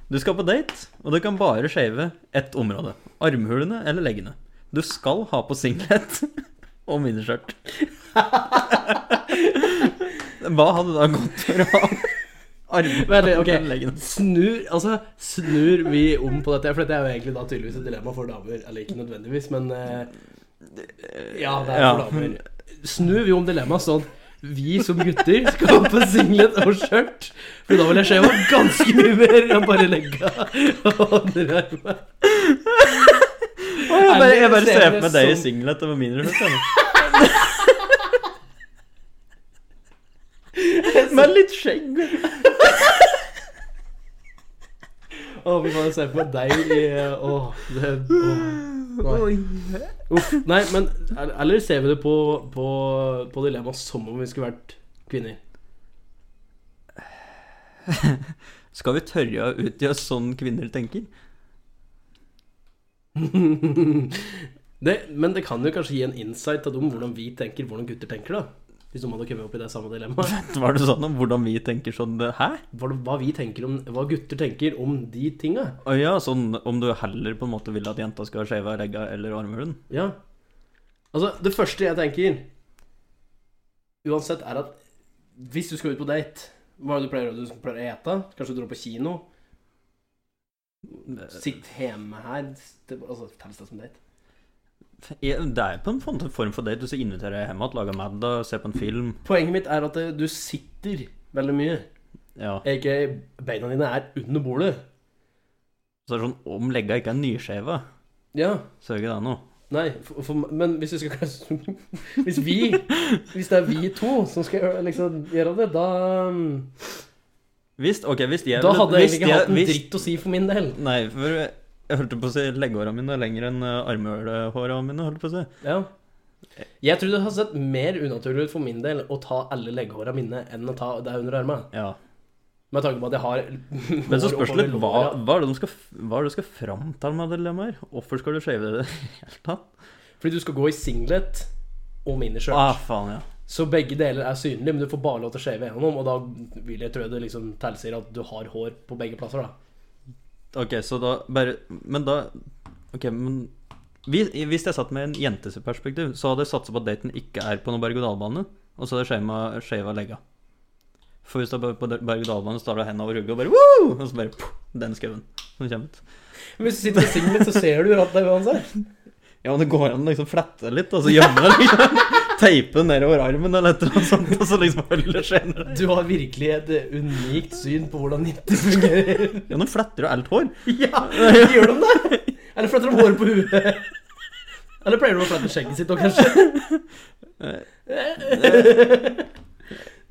S2: Du skal på date, og du kan bare shave ett område. Armhulene eller leggene. Du skal ha på singlet og miniskjørt. Hva hadde da gått for å ha
S1: Vent
S2: armhulene
S1: litt, ok.
S2: eller leggene?
S1: Snur, altså, snur vi om på dette? For dette er jo egentlig da tydeligvis et dilemma for damer. Eller ikke nødvendigvis, men eh, Ja, det er for
S2: Ja.
S1: damer. Snur vi om dilemmaet sånn at vi som gutter skal ha på singlet og skjørt? For da vil jeg skjeve ganske mye mer enn bare legga og andre armen.
S2: Jeg bare, jeg
S1: Eller
S2: bare ser sånn-
S1: ser
S2: for
S1: det
S2: meg deg i
S1: som-
S2: singlet og med miniskjørt. jeg. Med litt skjegg.
S1: Å, vi bare ser på deg i eh, Åh, det åh, nei. Uff. Nei, men Eller ser vi det på, på, på dilemmaet som om vi skulle vært kvinner?
S2: Skal vi tørre å utgi oss sånn kvinner tenker?
S1: det, men det kan jo kanskje gi en insight til dem hvordan vi tenker, hvordan gutter tenker, da. Hvis noen hadde kommet opp i det samme dilemmaet.
S2: Var det sånn om hvordan vi tenker sånn Hæ?
S1: Hva, hva vi tenker om Hva gutter tenker om de tinga.
S2: Å ja, sånn om du heller på en måte vil at jenta skal ha skeiva legga eller armhulen?
S1: Ja. Altså, det første jeg tenker Uansett er at hvis du skal ut på date Hva er det du pleier å gjøre? Du pleier å ete? Kanskje du drar på kino? Sitt hjemme her det, Altså, telles det som date?
S2: Ja, Det er på en måte en form for date. Du skal invitere hjem igjen, lage middag, se på en film.
S1: Poenget mitt er at eh, du sitter veldig mye.
S2: Ja.
S1: Ikke beina dine er under bordet.
S2: Så er det sånn om legga ikke er nyskeiva,
S1: Ja.
S2: så er ikke det noe.
S1: Nei, for, for, men hvis vi skal Hvis vi Hvis det er vi to som skal gjøre- liksom, gjøre det, da
S2: Hvis, ok, hvis jeg
S1: Da hadde jeg
S2: hvis
S1: egentlig ikke hatt en
S2: hvis-
S1: dritt å si for min del.
S2: Nei, for jeg hørte på å si leggehåra mine er lenger enn eh, armhulehåra mine, holdt jeg på å si.
S1: Ja. Jeg tror det hadde sett mer unaturlig ut for min del å ta alle legghåra mine enn å ta deg under arma.
S2: Ja.
S1: Med tanke på at jeg har
S2: Men så
S1: hår
S2: spørs
S1: oppover
S2: det litt hva,
S1: låra.
S2: hva er det du skal, hva er det du skal fram til med dilemmaer? Hvorfor skal du shave det i det hele tatt?
S1: Fordi du skal gå i singlet og miniskjørt.
S2: Ah, faen, ja.
S1: Så begge deler er synlige, men du får bare lov til å shave gjennom. Og da vil jeg tro det liksom tilsier at du har hår på begge plasser, da.
S2: Ok, så da bare Men da Ok, men hvis, hvis jeg satt med en jentes perspektiv, så hadde jeg satsa på at daten ikke er på noen berg-og-dal-bane, og så hadde jeg shama- shava legga. For hvis du er på- på berg-og-dal-bane, så tar du hendene over ryggen og bare Woo! Og så bare pff, den skauen som kommer ut.
S1: Men hvis du sitter i singlet, så ser du rattet uansett.
S2: Ja, men det går an å liksom flette litt, og så gjemme det liksom. Teipe det nedover armen eller et eller annet sånt, og så liksom holde skjeene der.
S1: Du har virkelig et eh, unikt syn på hvordan nitter fungerer.
S2: Ja, nå fletter du alt hår.
S1: Ja, gjør de det? Eller fletter de håret på huet? Eller pleier de å flette skjegget sitt òg, kanskje?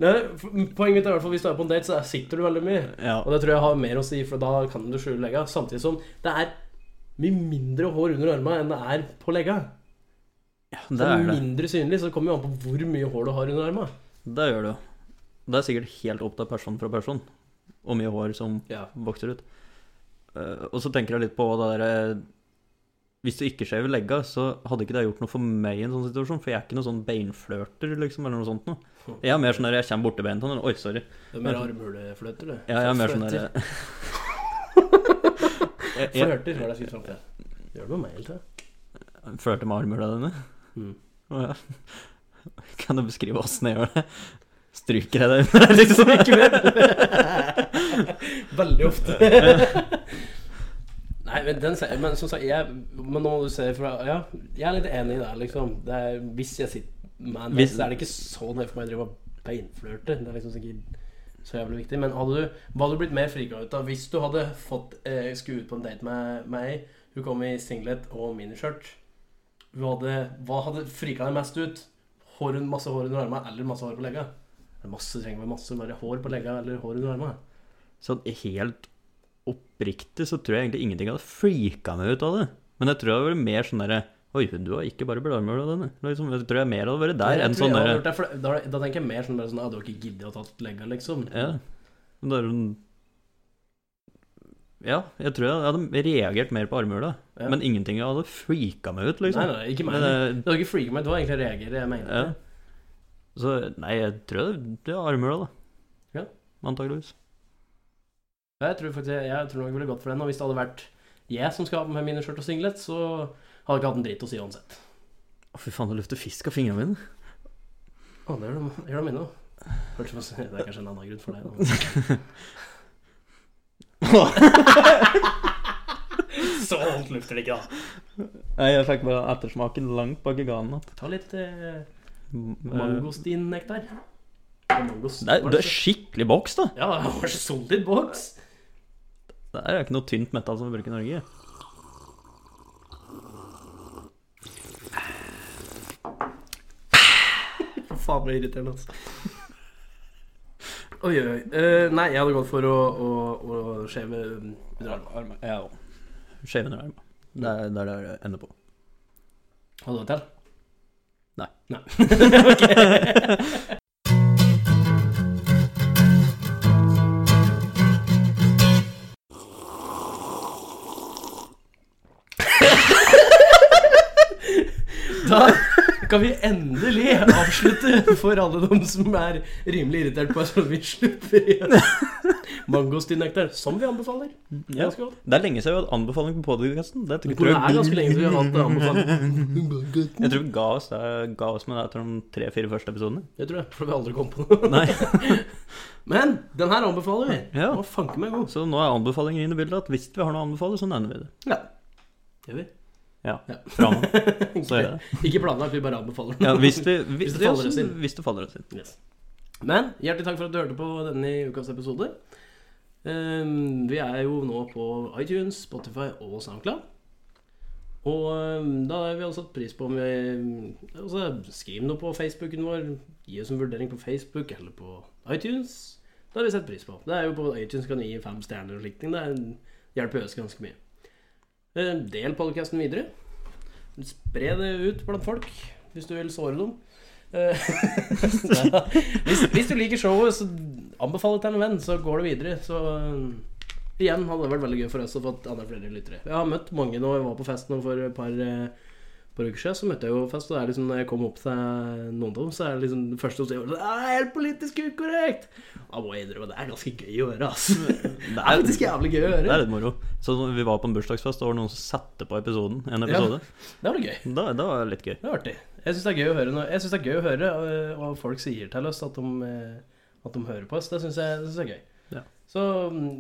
S1: Nei, f- Poenget mitt er i hvert fall hvis du er på en date, så er- sitter du veldig mye.
S2: Ja.
S1: Og det tror jeg har mer å si, for da kan du skjule legga. Samtidig som det er mye mindre hår under armene enn det er på legga.
S2: Det er det.
S1: Mindre synlig, så det kommer jo an på hvor mye hår du har under armene.
S2: Det gjør det jo. Det er sikkert helt opp til person fra person hvor mye hår som
S1: Ja.
S2: vokser ut. Eh, og så tenker jeg litt på det derre Hvis du ikke skjever legga, så hadde ikke det gjort noe for meg i en sånn situasjon, for jeg er ikke noen sånn beinflørter, liksom, eller noe sånt noe. Jeg er mer sånn der jeg kommer borti beina til noen Oi, sorry.
S1: Det er mer armhulefløter, det.
S2: Jeg, jeg er mer sånn der jeg, jeg
S1: Flørter, hva er det jeg skulle fram til? Gjør det med meg hele tida.
S2: flørter med armhula dine.
S1: Mm.
S2: Å, ja. Kan du beskrive åssen jeg gjør det? Stryker jeg deg under, liksom? Ikke mer.
S1: Veldig ofte. Nei, men, den, ser- men som sagt, jeg, men nå må du se fra Ja, jeg er litt enig i det, liksom. Det er, hvis jeg sitter med en
S2: Hvis-
S1: hvis, så er det ikke så nøye for meg å drive og kjempeinnflørte. Det er liksom sikkert så jævlig viktig. Men hadde du, hva hadde du blitt mer frika ut av hvis du hadde fått eh, skulle ut på en date med meg? Hun kom i singlet og miniskjørt. Hun hadde, hva hadde frika deg mest ut? Hår, un- masse hår under armene eller masse hår på legga? Eller Masse trenger ikke være masse, bare hår på legga eller hår under armene.
S2: Sånn helt oppriktig så tror jeg egentlig ingenting hadde freaka meg ut av det. Men jeg tror det hadde vært mer sånn derre Oi, du har ikke bare blarmer av denne. Liksom, jeg tror jeg mer hadde vært der
S1: Jeg
S2: enn
S1: tror
S2: sånn
S1: jeg hadde
S2: derre
S1: gjort det, for det- da, da tenker jeg mer sånn, bare sånn at du har ikke giddet å tatt legga, liksom.
S2: Ja. Men det er sånn Ja, jeg tror jeg hadde reagert mer på armhula.
S1: Ja.
S2: Men ingenting hadde freaka meg ut, liksom.
S1: Nei, nei, ikke meg.
S2: Men, eh,
S1: Det var ikke freaket meg, det var egentlig reagerer jeg mener.
S2: Ja. Så nei, jeg tror det, det er armhula, da.
S1: Ja.
S2: Antakeligvis.
S1: Ja, Jeg tror faktisk, jeg tror nok jeg ville gått for den, og hvis det hadde vært jeg som skal ha på meg mine skjørt og singlet, så hadde jeg ikke hatt en dritt å si uansett.
S2: Å, fy faen, det lukter fisk av fingrene mine.
S1: Å, det gjør de- gjør de ennå. Hørte som- Det er kanskje en annen grunn for deg. da. Så vondt lukter det ikke, da.
S2: Nei, jeg fikk bare ettersmaken langt bak i ganen.
S1: Ta litt eh,
S2: Det,
S1: mangostin-nektar. Mangost,
S2: er- det er skikkelig boks, da.
S1: Ja, det var så solid boks.
S2: Det er ikke noe tynt metall som vi bruker i Norge.
S1: Faen meg irriterende, altså. Oi, oi, oi. Eh, nei, jeg hadde gått for å, å, å um, skjeve under armen.
S2: Ja, Skjeve under armen. Det er det er der det ender på.
S1: Hadde du det til?
S2: Nei.
S1: Nei. Ok. Da kan vi endelig avslutte for alle de som er rimelig irritert på oss, og vi slipper igjen. Mangostinektar, som vi anbefaler.
S2: Ja.
S1: Ganske godt.
S2: Det er lenge siden vi hadde anbefaling på podkasten. Det tror
S1: Det
S2: jeg tror
S1: er ganske lenge siden vi har hatt det anbefalt.
S2: Jeg tror vi ga oss, det, ga oss med det etter de tre-fire første episodene.
S1: Jeg tror det, for vi aldri kom på noe.
S2: Nei,
S1: Men den her anbefaler vi.
S2: Ja.
S1: Å, fanke meg god.
S2: Så nå er anbefalingen inne i bildet. At hvis vi har noe å anbefale, så nevner vi det.
S1: Ja. Gjør vi?
S2: Ja,
S1: Ja.
S2: fra nå. Så gjør jeg det.
S1: Ikke planlagt, vi bare anbefaler den.
S2: Ja, hvis, vi, hvis,
S1: Hvis det
S2: det
S1: faller oss inn.
S2: hvis det faller oss inn.
S1: Yes. Men hjertelig takk for at du hørte på denne ukas episode. Ehm, vi er jo nå på iTunes, Spotify og SoundCloud. Og ehm, da har vi også satt pris på om vi ehm, altså, Skriv noe på Facebooken vår. Gi oss en vurdering på Facebook eller på iTunes. Det har vi sett pris på. Det er jo På iTunes kan du gi fem stjerner og slikt. ting. Det er- hjelper oss ganske mye. Ehm, del podkasten videre. Spre det ut blant folk hvis du vil såre dem. Eh, hvis, hvis du liker showet, så anbefal det til en venn, så går det videre. Så eh, igjen hadde det vært veldig gøy for oss å få andre flere lyttere. Jeg har møtt mange nå. Jeg var på fest nå for et par, eh, par uker siden, så møtte jeg jo fest. Og det er liksom, når jeg kom opp til noen av dem, så er det liksom det første som sier Det er helt politisk ukorrekt! Da må jeg innrømme, det er ganske gøy å høre, ass. Det er faktisk jævlig gøy å
S2: Det
S1: høre.
S2: er litt moro. Så når vi var på en bursdagsfest, og det var noen som satte på episoden. En
S1: Ja.
S2: episode.
S1: Det var gøy.
S2: Da, da var det litt gøy.
S1: Det er artig. Jeg syns det er gøy å høre, når, jeg synes det er gøy å høre øh, hva folk sier til oss, at de, øh, at de hører på oss. Det syns jeg, det synes jeg er gøy.
S2: Ja.
S1: Så mm,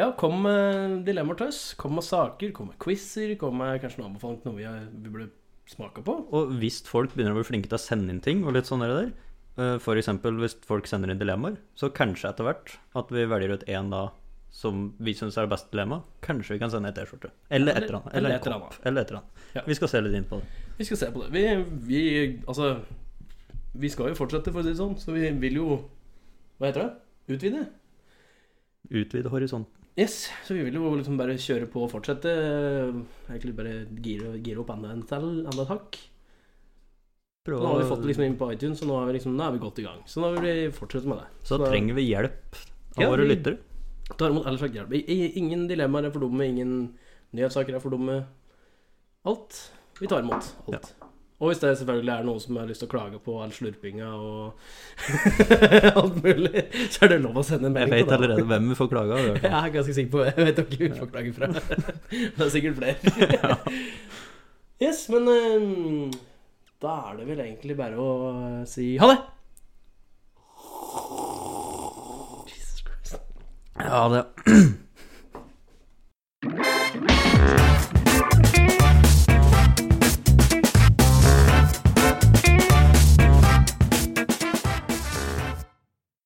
S1: ja, kom med dilemmaer til oss. Kom med saker, kom med quizer, kom med kanskje noe anbefaling til noe vi, har- vi burde smake på.
S2: Og hvis folk begynner å bli flinke til å sende inn ting, og litt sånn der, eh, for eksempel hvis folk sender inn dilemmaer, så kanskje etter hvert at vi velger ut én da som vi syns er det beste dilemmaet, kanskje vi kan sende ei T-skjorte. Eller et eller annet. Eller
S1: Eller
S2: en
S1: et eller
S2: kopp. Eller et eller annet.
S1: Ja.
S2: Vi skal se litt inn på det.
S1: Vi skal se på det. Vi, vi altså Vi skal jo fortsette, for å si det sånn, så vi vil jo Hva heter det? Utvide?
S2: Utvide horisonten.
S1: Yes, så vi vil jo liksom bare kjøre på og fortsette. Egentlig bare gire, gire opp enda en til, enda et hakk.
S2: Prøve
S1: Nå har vi
S2: å-
S1: fått det liksom inn på iTunes, så nå er vi, liksom, nå er vi godt i gang. Så nå vil vi fortsette med det.
S2: Så da trenger vi hjelp av
S1: Ja,
S2: våre
S1: vi-
S2: lyttere.
S1: Tar imot all slags hjelp. I- i- Ingen dilemmaer er for dumme, ingen nyhetssaker er for dumme. Alt. Vi tar imot alt. Og hvis det selvfølgelig er noen som har lyst til å klage på all slurpinga og alt mulig, så er det lov å sende en
S2: Jeg
S1: melding.
S2: vet
S1: på det.
S2: allerede hvem vi får klage av. i hvert fall.
S1: Jeg er ganske sikker på Jeg vet ikke hvor vi får klage fra. Det er sikkert flere. Yes, men eh, da er det vel egentlig bare å eh, si ha det! Jesus Christ.
S2: Ja, det